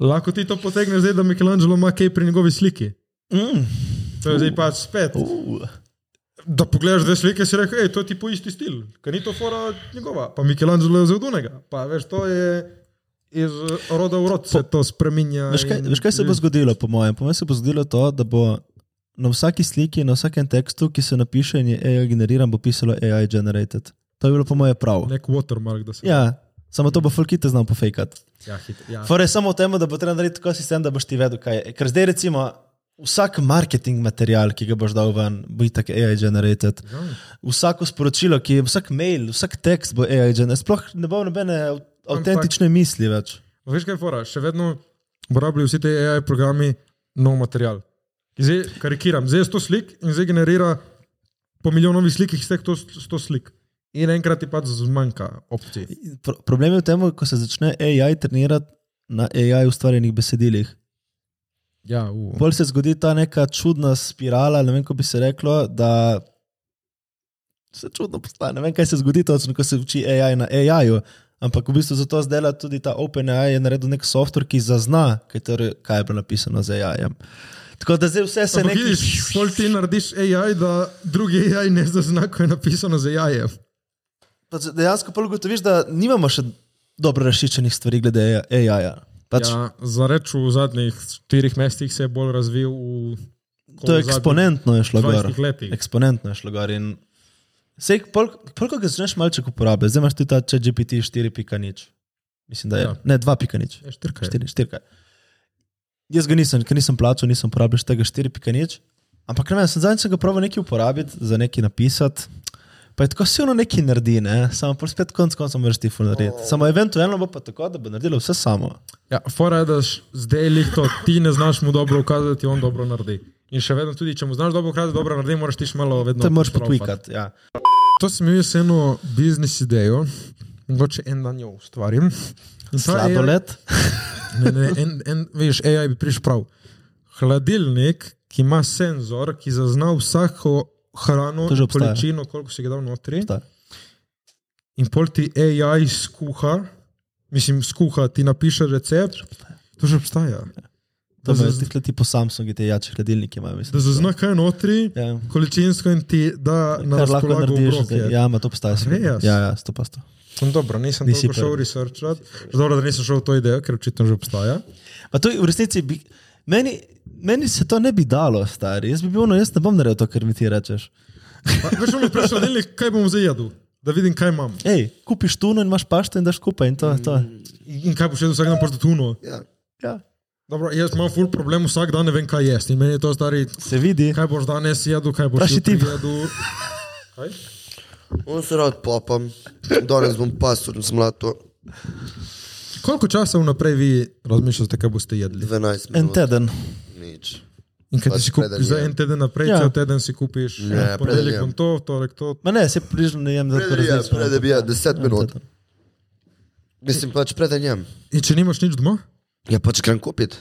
Speaker 1: Lahko ti to potegneš zdaj, da Michelangelo ima kaj pri njegovi sliki.
Speaker 3: Mm.
Speaker 1: To je zdaj pač spet.
Speaker 3: Uh.
Speaker 1: Da pogledaš dve slike, si rekel, hej, to je ti po isti stil, ker ni to fora njegova. Pa Michelangelo je zgodunega. Pa veš, to je iz roda v rod se to spreminja.
Speaker 3: Veš, kaj,
Speaker 1: in-
Speaker 3: veš, kaj se bo zgodilo, po mojem? Po mojem se bo zgodilo to, da bo na vsaki sliki, na vsakem tekstu, ki se napiše in je AI generiran, bo pisalo AI generated. To je bilo, po mojem, prav.
Speaker 1: Nek watermark, da se.
Speaker 3: Ja, samo to bo fulkite znal pofejkati.
Speaker 1: ja, hit, ja.
Speaker 3: Fore samo v tem, da bo treba narediti tako sistem, da boš ti vedel, kaj je. Ker zdaj recimo vsak marketing material, ki ga boš dal ven, bo itak AI generated. Vsako sporočilo, ki je, vsak mail, vsak tekst bo AI generated. Sploh ne bo nobene av- avtentične misli več.
Speaker 1: No, Veš kaj, je fora, še vedno uporabljajo vsi ti AI programi nov material. Ki Zdaj karikiram, zdaj je 100 slik in zdaj generira po milijonu novih slik, jih stek 100 slik. In enkrat ti pač zmanjka opcij.
Speaker 3: Pro problem je v tem, ko se začne AI trenirati na AI ustvarjenih besedilih.
Speaker 1: Ja, u.
Speaker 3: Bolj se zgodi ta neka čudna spirala, ne vem, kako bi se reklo, da se čudno postane. Ne vem, kaj se zgodi točno, ko se uči AI na AI-ju. Ampak v bistvu zato zdaj dela tudi ta OpenAI, je naredil nek software, ki zazna, kaj, ter, kaj je bilo napisano z AI-jem. Tako da zdaj vse se
Speaker 1: Ampak
Speaker 3: nekaj.
Speaker 1: vidiš, pol ti narediš AI, da drugi AI ne zazna, ko je napisano za AI.
Speaker 3: Pač dejansko pa ugotoviš, da nimamo še dobro razšičenih stvari glede AI-ja. Pač ja,
Speaker 1: Ja, za reč v zadnjih štirih mestih se je bolj razvil v... kot v
Speaker 3: to je
Speaker 1: zadnjih
Speaker 3: eksponentno je šlo gor.
Speaker 1: 20 letih.
Speaker 3: Eksponentno je šlo gor. in Sej, koliko ga začneš malček uporabljati, zdaj imaš tudi ta če GPT 4.0. Mislim, da je.
Speaker 1: Ja.
Speaker 3: Ja. Ne, 2.0.
Speaker 1: Ja, štirka je.
Speaker 3: 4, 4. Jaz ga nisem, ker nisem plačal, nisem uporabljal še tega 4.0. Ampak ne vem, sem zadnjič sem ga proval nekaj uporabiti, za nekaj napisati. Pa je tako silno nekaj naredi, ne? samo pol spet konc koncev moraš ti ful narediti. Oh. Samo eventualno bo pa tako, da bo naredilo vse samo.
Speaker 1: Ja, fora je, da š- zdaj lih to ti ne znaš mu dobro ukazati, on dobro naredi. In še vedno tudi, če mu znaš dobro ukazati, dobro naredi, moraš ti še malo vedno.
Speaker 3: No, to moraš
Speaker 1: poštraufati.
Speaker 3: potvikati. Ja.
Speaker 1: To sem imel jaz eno biznis idejo, mogoče en dan jo ustvarim. In ta AI
Speaker 3: Sladoled.
Speaker 1: Ne, ne, en, en, veš, AI bi prišel prav. Hladilnik, ki ima senzor, ki zazna vsako hrano,
Speaker 3: To že obstaja.
Speaker 1: količino, koliko si ga dal notri.
Speaker 3: Obstaja.
Speaker 1: In pol ti AI skuha, mislim, skuha, ti napiše recept. To že obstaja. Da
Speaker 3: To je
Speaker 1: zaz-
Speaker 3: zdaj ti po Samsungu, te jače hladilnike imajo. Mislim,
Speaker 1: Da zazna kaj je notri,
Speaker 3: Ja.
Speaker 1: količinsko in ti da na
Speaker 3: Kar lahko
Speaker 1: razpolago
Speaker 3: narediš,
Speaker 1: obroke.
Speaker 3: zdaj. ja, ima to obstaja. sigurno.
Speaker 1: Res?
Speaker 3: Ja, ja, sto pa sto.
Speaker 1: Sem dobro, nisem
Speaker 3: Nisi
Speaker 1: toliko šel
Speaker 3: prvi.
Speaker 1: researchat. Že Dobro, da nisem šel v to idejo, ker očitno že obstaja.
Speaker 3: Pa to je v resnici, bi, meni Meni se to ne bi dalo, stari. Jaz bi bil, no, jaz ne bom naredil to, kar mi ti rečeš.
Speaker 1: Pa, Veš, ono prešlo delnik, kaj bom zajedel, da vidim, kaj imam.
Speaker 3: Ej, kupiš tuno in imaš pašto in daš skupaj in to je to.
Speaker 1: Mm. In kaj bo še vsak dan pošto tuno.
Speaker 4: Ja.
Speaker 3: Ja.
Speaker 1: Dobro, jaz imam full problem, vsak dan ne vem, kaj jesti. In meni je to stari,
Speaker 3: Se vidi.
Speaker 1: kaj boš danes jedel, kaj boš
Speaker 3: Vprašaj ti.
Speaker 1: jutri jedel. Kaj?
Speaker 4: On se rad popam, danes bom pasur, sem mlato
Speaker 1: Koliko časa vnaprej vi razmišljate, kaj boste jedli?
Speaker 4: 12
Speaker 3: En
Speaker 4: minut.
Speaker 3: teden.
Speaker 4: Nič.
Speaker 1: In kaj
Speaker 4: Pač
Speaker 1: ti si kupiš
Speaker 4: predelje.
Speaker 1: za en teden naprej,
Speaker 3: Ja.
Speaker 1: ja. cel teden si kupiš,
Speaker 4: Ne,
Speaker 1: ja, ponedeljek
Speaker 4: predelje.
Speaker 1: bom to, v torek to.
Speaker 3: Ma ne, se približno ne jem, da tako
Speaker 4: Predebija,
Speaker 3: različno.
Speaker 4: predebija, 10 ja, minut.
Speaker 3: teden.
Speaker 4: Mislim pač predanjem.
Speaker 1: In če nimaš nič doma?
Speaker 4: Ja, pač grem kupiti.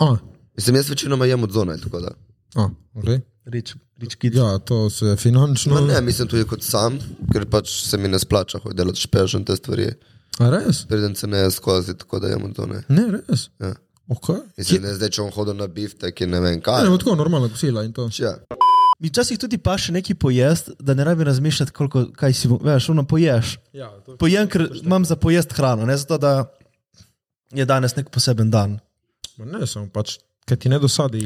Speaker 1: A,
Speaker 4: Mislim, jaz večinoma jem od zone, tako da.
Speaker 1: a okay.
Speaker 3: Rič, rič kid.
Speaker 1: Ja, to se finančno.
Speaker 4: No, ne, mislim tudi kot sam, ker pač se mi ne splača hoditi delati špeš in te stvari.
Speaker 1: A res?
Speaker 4: Preden se ne skozi, tako da jem od zone.
Speaker 1: Ne, res.
Speaker 4: Ja.
Speaker 1: Okay.
Speaker 4: Mislim, ne zdaj, če on hodil na biftek in ne vem kaj.
Speaker 1: Ne, bo tako normalna kosila in to.
Speaker 4: Ja.
Speaker 3: Mi včasih tudi pa še nekaj pojesti, da ne rabi razmišljati, koliko kaj si bo, veš, ono poješ.
Speaker 1: Ja, to...
Speaker 3: Pojem, ker imam za pojest hrano, ne zato, da je danes nek poseben dan.
Speaker 1: Ma Ne, samo pač, kaj ti ne dosadi.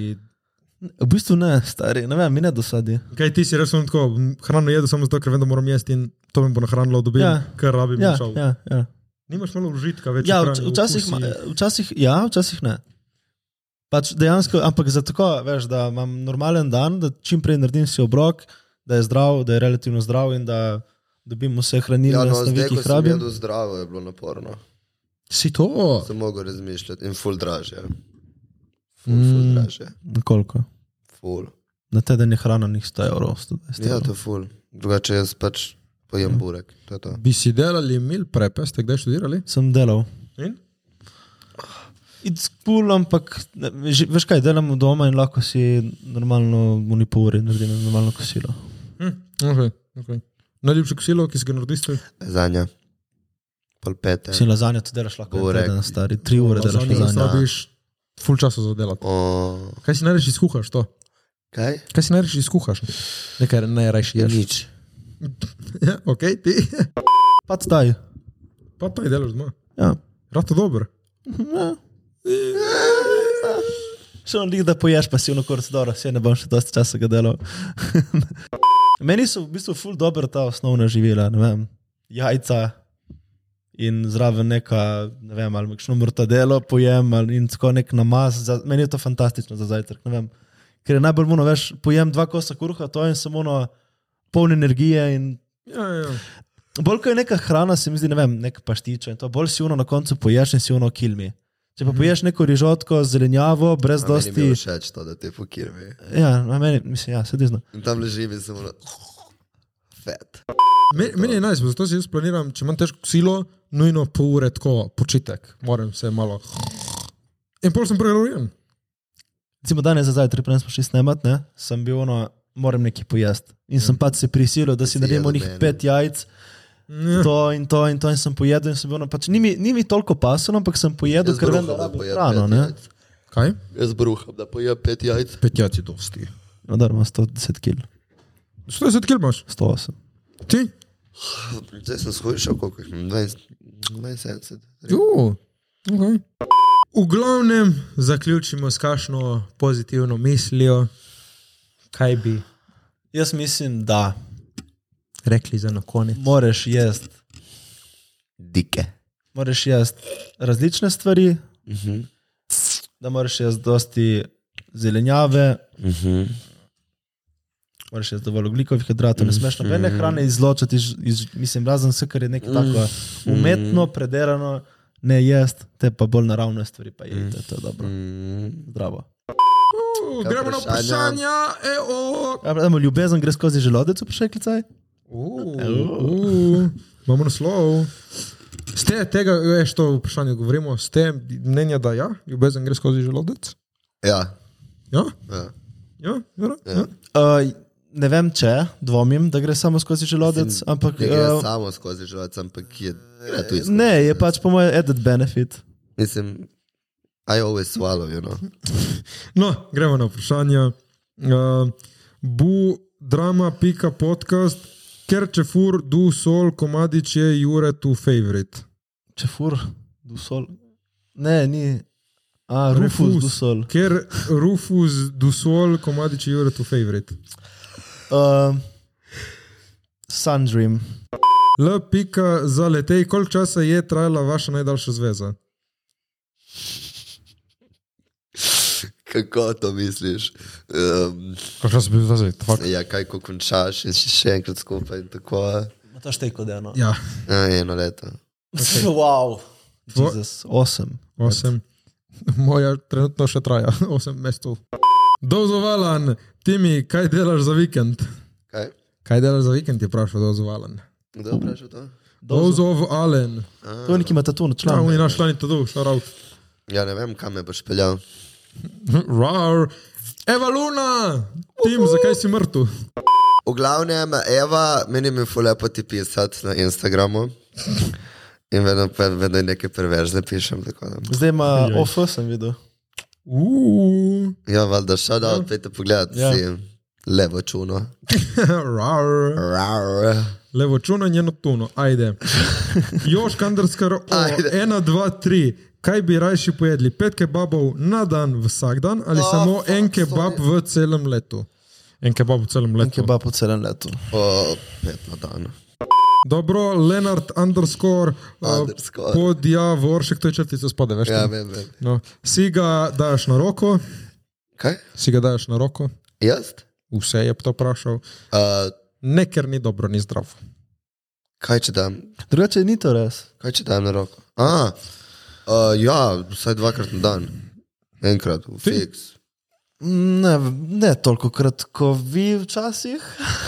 Speaker 3: V bistvu ne, stari, ne vem, mi ne dosadi.
Speaker 1: Kaj ti si rešil tako, "M, hrano jedel samo zato, ker vem, da moram jesti in to mi bo nahranilo dobil,
Speaker 3: Ja.
Speaker 1: ja. ker rabim
Speaker 3: Ja,
Speaker 1: šel.
Speaker 3: ja, ja.
Speaker 1: Nimaš malo užitka več.
Speaker 3: Ja,
Speaker 1: v
Speaker 3: vč-
Speaker 1: hrani,
Speaker 3: včasih,
Speaker 1: okusi.
Speaker 3: ma- včasih, ja, včasih ne. Pač dejansko, ampak za tako, veš, da imam normalen dan, da čim prej naredim si obrok, da je zdrav, da je relativno zdrav in da dobim vse
Speaker 4: Ja,
Speaker 3: hranilne ja,
Speaker 4: no,
Speaker 3: no, snovi,
Speaker 4: zdaj,
Speaker 3: ki
Speaker 4: ko
Speaker 3: jih
Speaker 4: sem
Speaker 3: rabim.
Speaker 4: jedel zdravo, je bilo naporno.
Speaker 1: Si to?
Speaker 4: Sem mogel razmišljati in ful dražje. Ful,
Speaker 3: Mm.
Speaker 4: ful dražje.
Speaker 3: Koliko?
Speaker 4: Ful.
Speaker 3: Na teden je hrana njih 100 evrov, 120
Speaker 4: Ja,
Speaker 3: evrov.
Speaker 4: to je ful. Drugače jaz pač
Speaker 3: Ja.
Speaker 4: pojem burek. To je to.
Speaker 1: Bi si delali mil prepe, ste kdaj študirali?
Speaker 3: Sem delal.
Speaker 1: In?
Speaker 3: It's cool, ampak ne, že- veš kaj, delam doma in lahko si normalno v ni pol uri naredim normalno kosilo.
Speaker 1: Hm. Okay, okay. Najljubše kosilo, ki si ga naredil, ste
Speaker 4: Zanja. Pol pete.
Speaker 3: Si lazanja tudi delaš lahko,
Speaker 4: Burek.
Speaker 3: ure, stari, tri ure delaš lazanja.
Speaker 1: Zabiš ful časa za delati.
Speaker 4: O,
Speaker 1: Kaj si najraš izkuhaš to?
Speaker 4: kaj?
Speaker 1: Kaj si najraš izkuhaš? Nekaj najraš
Speaker 4: Ja,
Speaker 1: ješ.
Speaker 4: nič.
Speaker 1: Ja, ok, ti.
Speaker 3: Pa Pač zdaj.
Speaker 1: Pa to je delaš doma.
Speaker 3: Ja.
Speaker 1: Rato dobro.
Speaker 3: Še on lih, da poješ pasivno korcidoro, se ne bom še dosti časa ga delal. Meni so v bistvu ful dobro ta osnovna živila, ne vem, jajca in zraven neka, ne vem, ali kakšno mortadelo pojem ali in tako nek namaz. Za, meni je to fantastično za zajtrk, ne vem. Ker je najbolj muno, veš, pojem dva kosa kruha, to in samo ono, poln energije in
Speaker 1: Ja, ja.
Speaker 3: bolj ko je neka hrana, se mi zdi, ne vem, nek paštičo in to, bolj si uno na koncu poješ in si uno kilmi. Če pa poješ neko rižotko z zelenjavo, brez
Speaker 4: Dosti. Mhm. Meni je
Speaker 3: dosti.
Speaker 4: všeč to, da te pokirmi.
Speaker 3: Ja, na meni, mislim, ja, sedizno.
Speaker 4: In tam leži in sem ono... Fet.
Speaker 1: Me- Meni je najbolj, zato si jaz planiram, če imam težko kosilo, nujno pol ure tako počitek, moram se malo. In pol sem prerojen.
Speaker 3: Recimo danes za zajtrk, prej smo šli snemat, ne, sem bil ono, moram nekaj pojesti. In
Speaker 4: Mhm.
Speaker 3: sem pač se prisilil, da si
Speaker 4: si
Speaker 3: naredim
Speaker 4: jedel
Speaker 3: onih
Speaker 4: meni.
Speaker 3: pet jajc,
Speaker 4: Mhm.
Speaker 3: to in to in to in sem pojedel in sem bil ono, pač ni mi, ni mi toliko pasano, ampak sem pojedel,
Speaker 4: Jaz
Speaker 3: ker vem,
Speaker 4: bruham,
Speaker 3: da
Speaker 4: da
Speaker 3: rabim
Speaker 4: pojem
Speaker 3: hrano,
Speaker 4: pet
Speaker 3: ne.
Speaker 4: jajc.
Speaker 1: Kaj?
Speaker 4: Jaz bruham, da pojem pet jajc.
Speaker 1: Petjac je dosti.
Speaker 3: No, da ima 110 kg,
Speaker 1: 40 km imaš,
Speaker 3: 108.
Speaker 1: ti?
Speaker 4: Zdaj sem shujšal, koliko jih imam? 20 72.
Speaker 1: Jo, okay. V glavnem zaključimo s kakšno pozitivno mislijo, kaj bi
Speaker 3: Jaz mislim, da
Speaker 1: rekli za na konec.
Speaker 3: moraš jesti,
Speaker 4: Dike.
Speaker 3: moraš jesti različne stvari,
Speaker 4: Mhm.
Speaker 3: da moraš jesti dosti zelenjave,
Speaker 4: Mhm.
Speaker 3: moraš jesti dovolj ugljikovih hidratov, ne smeš nobene
Speaker 4: Mhm.
Speaker 3: hrane izločiti, iz, iz, mislim, razen vse, kar je nekaj tako
Speaker 4: Mhm.
Speaker 3: umetno, predelano, ne jesti, te pa bolj naravne stvari, pa jedite, to
Speaker 4: Mhm.
Speaker 3: je dobro,
Speaker 4: Mm,
Speaker 3: zdravo.
Speaker 1: Uh,
Speaker 4: Kaj
Speaker 1: gremo na
Speaker 4: vprašanja?
Speaker 1: vprašanja, E evo.
Speaker 3: Ja, pa dajmo, ljubezen gre skozi želodec, vprašaj klicaj.
Speaker 1: Uh, Imamo naslov. Ste tega, veš, to vprašanje govorimo, ste mnenja, da ja, ljubezen gre skozi želodec?
Speaker 4: Ja.
Speaker 1: Ja,
Speaker 4: ja.
Speaker 1: ja, Jura? ja.
Speaker 3: Uh, ne vem, če dvomim, da gre samo skozi želodec, ampak
Speaker 4: Ne gre
Speaker 3: uh,
Speaker 4: samo skozi želodec, ampak je gre tudi skozi.
Speaker 3: ne, je pač po mojem added benefit.
Speaker 4: Mislim, I always swallow, you know.
Speaker 1: No, gremo na vprašanje. Uh, bu drama, pika podcast, ker če fur, du sol, komadič je Jure tu favorit.
Speaker 3: Če fur, dusol. Ne, ni. A, Rufus, Rufus. Dusol.
Speaker 1: Ker Rufus Dusol, komadiči Jure tu favorite.
Speaker 3: Uh, Sundream.
Speaker 1: L. Pika za letej, koliko časa je trajala vaša najdaljša zveza?
Speaker 4: Kako to misliš? Um,
Speaker 5: Kako čas bi bil zdaj? Fuck.
Speaker 4: ja, kaj ko končaš in si še enkrat skupaj in tako.
Speaker 3: Ma to štejko deno.
Speaker 1: Ja,
Speaker 4: Ja, eno leto.
Speaker 1: Okay.
Speaker 3: wow.
Speaker 1: Tvo-
Speaker 3: Jezus, osem.
Speaker 1: osem. Moja trenutno še traja, osem mestov. Dozovalan, Timi, kaj delaš za vikend?
Speaker 4: Kaj?
Speaker 1: Kaj delaš za vikend, je vprašal Dozovalan.
Speaker 4: Kdo je vprašal to?
Speaker 1: Dozovalen.
Speaker 3: To je neki matatu,
Speaker 1: Ja, on
Speaker 3: član.
Speaker 1: je naš član, to dol, šarov.
Speaker 4: Ja, ne vem, kam me boš peljal.
Speaker 1: Rar. Eva Luna, Tim, zakaj si mrtev?
Speaker 4: V glavnem, Eva, meni mi je ful lepo ti pisati na Instagramu. In vedno, pa- vedno ji nekaj perverzne pišem. tako da.
Speaker 3: Zdaj ima OF, sem videl.
Speaker 1: Uuu,
Speaker 4: Ja, valjda, šel da, odpete pogled,
Speaker 3: Ja.
Speaker 4: si levo čuno.
Speaker 1: rar.
Speaker 4: Rar.
Speaker 1: Levo čuno in eno tuno, ajde. Još kandarskar,
Speaker 4: Ajde.
Speaker 1: ena, dva, tri. Kaj bi rajši pojedli? Pet kebabov na dan, vsak dan,
Speaker 4: Ah,
Speaker 1: ali oh, samo en kebab v celem letu? En kebab v celem letu.
Speaker 3: Keba po celem letu.
Speaker 4: Po pet na dan.
Speaker 1: Dobro, Lenart, underscore, uh,
Speaker 4: Underscore.
Speaker 1: podjavor, še kdo je črtica spode, veš?
Speaker 4: Ja,
Speaker 1: tam?
Speaker 4: vem, vem.
Speaker 1: No. Si ga daš na roko,
Speaker 4: Kaj?
Speaker 1: si ga daš na roko,
Speaker 4: Jaz?
Speaker 1: vse je to vprašal.
Speaker 4: Uh,
Speaker 1: Ne, ker ni dobro, ni zdrav.
Speaker 4: kaj če dam?
Speaker 3: Drugače ni to res.
Speaker 4: Kaj če dam na roko? A, uh, ja, vsaj dvakrat na dan. Enkrat, v fiks.
Speaker 3: Ne, ne toliko krat, kot vi včasih.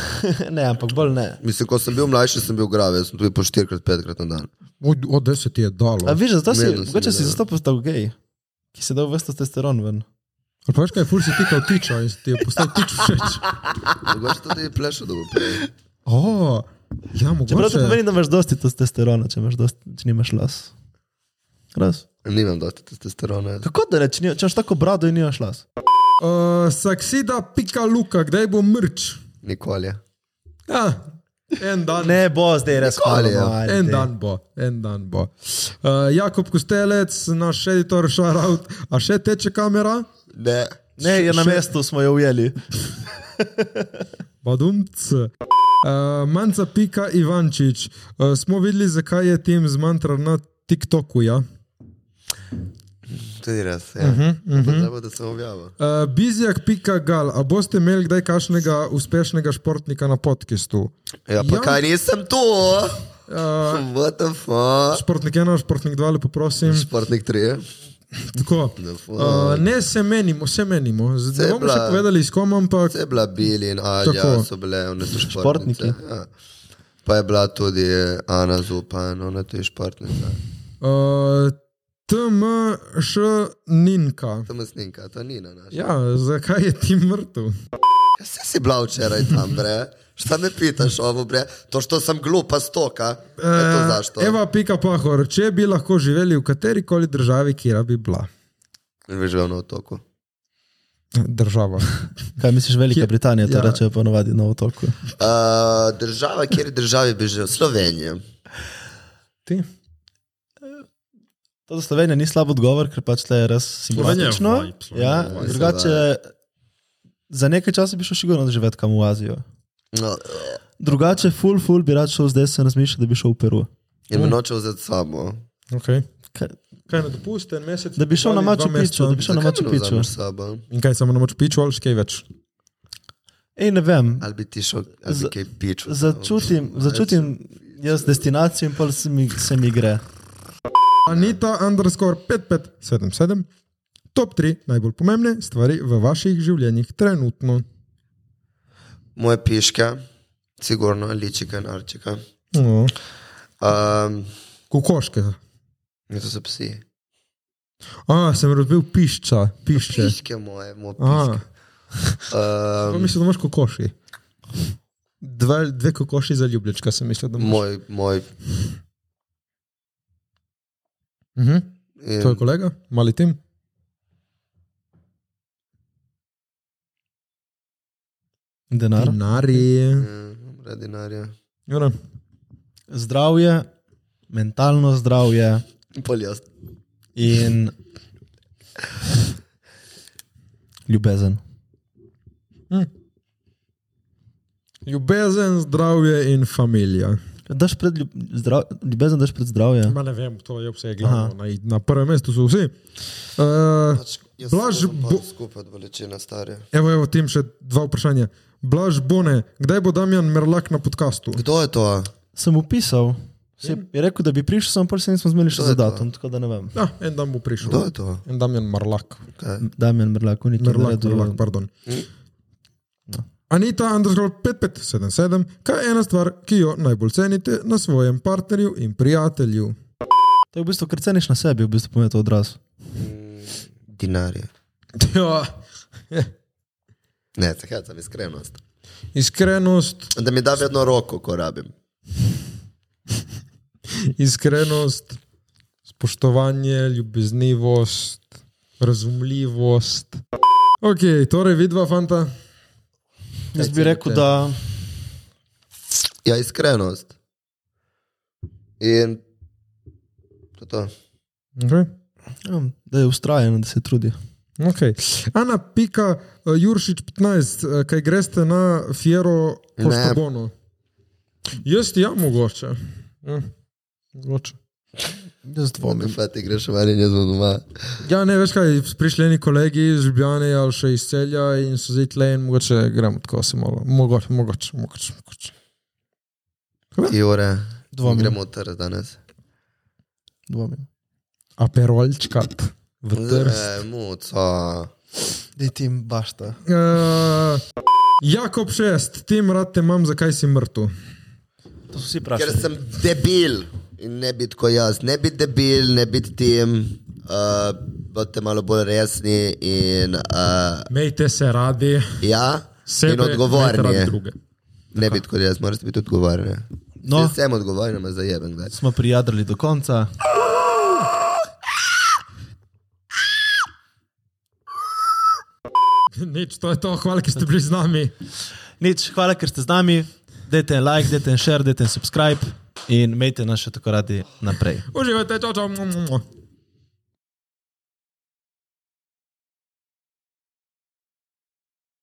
Speaker 3: ne, ampak bolj ne.
Speaker 4: Mislim, ko sem bil mlajši, sem bil grave, jaz sem tudi po štirikrat, petkrat na dan.
Speaker 1: Od, od 10 je dalo.
Speaker 3: A viš, zato si,
Speaker 4: Vedno si
Speaker 3: mogoče si
Speaker 4: videl.
Speaker 3: zato postal gej, ki si dal vrsto testosteron ven.
Speaker 1: Ali pa veš kaj, ful si tikal tiča in ti je postal tič všeč.
Speaker 4: Mogoče tudi plešo dolgo prej.
Speaker 1: O, ja,
Speaker 3: Čeprav to pomeni,
Speaker 1: mogoče.
Speaker 3: da imaš dosti testosterona, če, imaš dosti, če nimaš las. Res.
Speaker 4: Nimam dosti testosterona. jaz.
Speaker 3: Kako da reč, če imaš tako brado in nimaš las?
Speaker 1: Uh, saksida pika luka, kdaj bo mrč?
Speaker 4: Nikoli.
Speaker 1: Ja, en dan.
Speaker 3: Ne bo zdaj res hvala.
Speaker 4: ja.
Speaker 3: no, ajde.
Speaker 1: En dan bo, en dan bo. Uh, Jakob Kostelec, naš editor, šarout, a še teče kamera,
Speaker 4: Ne.
Speaker 3: Ne, je na mestu smo jo ujeli.
Speaker 1: badumc. Uh, manca pika Ivančič, uh, smo videli, zakaj je tim z mantra na TikToku, ja?
Speaker 4: Tudi res. Ja. Uh
Speaker 1: Mhm,
Speaker 4: -huh, uh -huh. Zdaj bo, da sem objavil.
Speaker 1: Uh, Bizjak, pika gal, a boste imeli kdaj kakšnega uspešnega športnika na podkastu?
Speaker 4: Ja, pa
Speaker 1: Ja.
Speaker 4: ja. kaj nisem tu?
Speaker 1: Uh,
Speaker 4: What the fuck?
Speaker 1: športnik ena, športnik dva, lepo prosim.
Speaker 4: Športnik 3.
Speaker 1: Tako. Uh, ne se menimo, se menimo. Zdaj bomo še
Speaker 4: bila-
Speaker 1: povedali, s kom, ampak
Speaker 4: Vse je bila Bili in
Speaker 1: Tako.
Speaker 4: Alja, so bile one so športnice.
Speaker 3: Športniki.
Speaker 4: Ja. Pa je bila tudi Ana Zupan, ona tu je športnica.
Speaker 1: uh, TMŠ Ninka.
Speaker 4: To me sninka, to ni na naš. Ja.
Speaker 1: Ja, zakaj je ti mrtev?
Speaker 4: Vse si bila včeraj tam, bre. Šta me pitaš ovo, bre? To, što sam glupa stoka. E, to zašto?
Speaker 1: Eh, Eva, pika pahor, če bi lahko živeli v kateri koli državi, kjer bi bila.
Speaker 4: Vi živel na otoku.
Speaker 1: Država.
Speaker 3: Kaj misliš, Velika
Speaker 1: Kje-
Speaker 3: Britanija to
Speaker 1: ja.
Speaker 3: ja. reče ponovadi na otoku?
Speaker 4: Uh, država, kjer državi bi živel? Slovenija.
Speaker 1: Ti?
Speaker 3: To za Slovenijo ni slab odgovor, ker pač tle je res
Speaker 5: Slovenija je
Speaker 3: simpatično.
Speaker 5: vibe, Slovenija
Speaker 3: Ja,
Speaker 4: je vibe.
Speaker 3: drugače, za nekaj časa bi šel sigurno živeti kam v Azijo.
Speaker 4: No,
Speaker 3: Drugače, full, full bi rad šel, zdaj se razmišlja, da bi šel v Peru.
Speaker 4: in me noče vzeti samo.
Speaker 1: Okay.
Speaker 3: Kaj,
Speaker 1: Kaj ne dopusti, en mesec?
Speaker 3: da bi šel na
Speaker 1: ali dva
Speaker 3: Machu Picchu,
Speaker 1: meseca?
Speaker 3: da bi šel na Machu Picchu.
Speaker 4: Sabo?
Speaker 1: In kaj samo na Machu Picchu, ali še kaj več?
Speaker 3: Ej, ne vem,
Speaker 4: Ali bi ti šel, ali
Speaker 3: Za-
Speaker 4: bi kaj pičil?
Speaker 3: začutim, začutim jaz destinacijo in pa se mi, se mi gre.
Speaker 1: Anita, underscore 5577, top 3 najbolj pomembne stvari v vaših življenjih trenutno.
Speaker 4: Moje piške, sigurno, ličika in arčika.
Speaker 1: No.
Speaker 4: Um,
Speaker 1: Kokoške.
Speaker 4: Ja, to so psi.
Speaker 1: A, sem razbil pišča, pišče.
Speaker 4: Piške moje, moj
Speaker 1: A,
Speaker 4: piške.
Speaker 1: to
Speaker 4: Um,
Speaker 1: mislim, da imaš kokoši. Dva, dve kokoši za ljublječka sem mislil, da imaš.
Speaker 4: moj, moj.
Speaker 1: Mhm.
Speaker 4: In,
Speaker 1: To je kolega, mali tim.
Speaker 3: Denar,
Speaker 1: Dinari.
Speaker 4: ja, radi narja.
Speaker 1: Jure.
Speaker 3: zdravje, mentalno zdravje
Speaker 4: Pol jaz.
Speaker 3: in ljubezen.
Speaker 1: Ljubezen, zdravje in familija.
Speaker 3: Daš pred ljub, zdrav, ljubezen daš pred zdravje.
Speaker 1: Ma ne vem, to je vse glavno. Na, na prvem mestu so vsi. E, Uh,
Speaker 4: pač,
Speaker 1: Blaž, bo,
Speaker 4: skupaj bolečina starja.
Speaker 1: evo, evo, tim še dva vprašanja. Blaž Bone, kdaj bo Damjan Merlak na podkastu?
Speaker 4: Kdo je to?
Speaker 3: Sem upisal, se je rekel, da bi prišel, sem pa se nismo zmeli še
Speaker 4: To je
Speaker 3: za
Speaker 4: to.
Speaker 3: datum, tako da ne vem.
Speaker 1: Ja, en dan bo prišel.
Speaker 4: Kdo je to?
Speaker 1: En Damjan Marlak.
Speaker 3: Damien Mrlak, on je to
Speaker 1: Merlak, Merlak,
Speaker 3: naredil.
Speaker 1: pardon. No. Anita, underscore 5577, kaj je ena stvar, ki jo najbolj cenite na svojem partnerju in prijatelju?
Speaker 3: To je v bistvu, ker ceniš na sebi, v bistvu pomeni to odraz.
Speaker 4: Dinarje.
Speaker 1: Ja,
Speaker 4: Ne, takrat sem iskrenost.
Speaker 1: iskrenost,
Speaker 4: Da mi da vedno roko, ko rabim.
Speaker 1: iskrenost, spoštovanje, ljubeznivost, razumljivost. Ok, torej vidva, fanta.
Speaker 3: Jaz
Speaker 1: Kaj
Speaker 3: bi rekel,
Speaker 1: cenite?
Speaker 3: da
Speaker 4: Ja, iskrenost. In to je to.
Speaker 1: Okay.
Speaker 3: Ja, da je ustrajen, da se trudi.
Speaker 1: Okay. Ana, pika, eh, Juršič 15, eh, kaj greste na Fiero
Speaker 4: Ne.
Speaker 1: Kostabono? Jaz ja, mogoče. Ja, mogoče.
Speaker 3: Jaz
Speaker 4: Pomeni, da ti greš ven in jaz bom doma.
Speaker 1: ja, ne veš kaj, prišli neki kolegi iz Ljubljane ali še iz Celja in so zdaj tle in mogoče gremo tako se malo. Mogoče, mogoče, mogoče. mogoče.
Speaker 4: Ki ure?
Speaker 3: Dvomim.
Speaker 4: Gremo ter danes.
Speaker 3: dvomim.
Speaker 1: Aperolčkat v Trst.
Speaker 4: Ne, muco.
Speaker 3: Da je tim bašta.
Speaker 1: Uh, Jakob 6, tim rad te imam, zakaj si mrtev.
Speaker 3: To so vsi
Speaker 4: Ker
Speaker 3: vprašali.
Speaker 4: sem debil in ne biti kot jaz, ne biti debil, ne biti tim, uh, bodite malo bolj resni in uh,
Speaker 1: Mejte se radi,
Speaker 4: ja,
Speaker 1: sebe
Speaker 4: in
Speaker 1: imejte radi
Speaker 4: odgovorni.
Speaker 1: druge.
Speaker 4: Ne biti kot jaz, moraš biti odgovorni.
Speaker 3: No.
Speaker 4: No. Jaz sem odgovoren, me zajeben. Kdaj.
Speaker 3: Smo prijadrali do konca.
Speaker 1: Nič, to je to, hvala, ker ste bili z nami.
Speaker 3: Nič, hvala, ker ste z nami. Dajte en like, dajte en share, dajte en subscribe in imejte nas še tako radi naprej.
Speaker 1: Uživajte, čau, čau.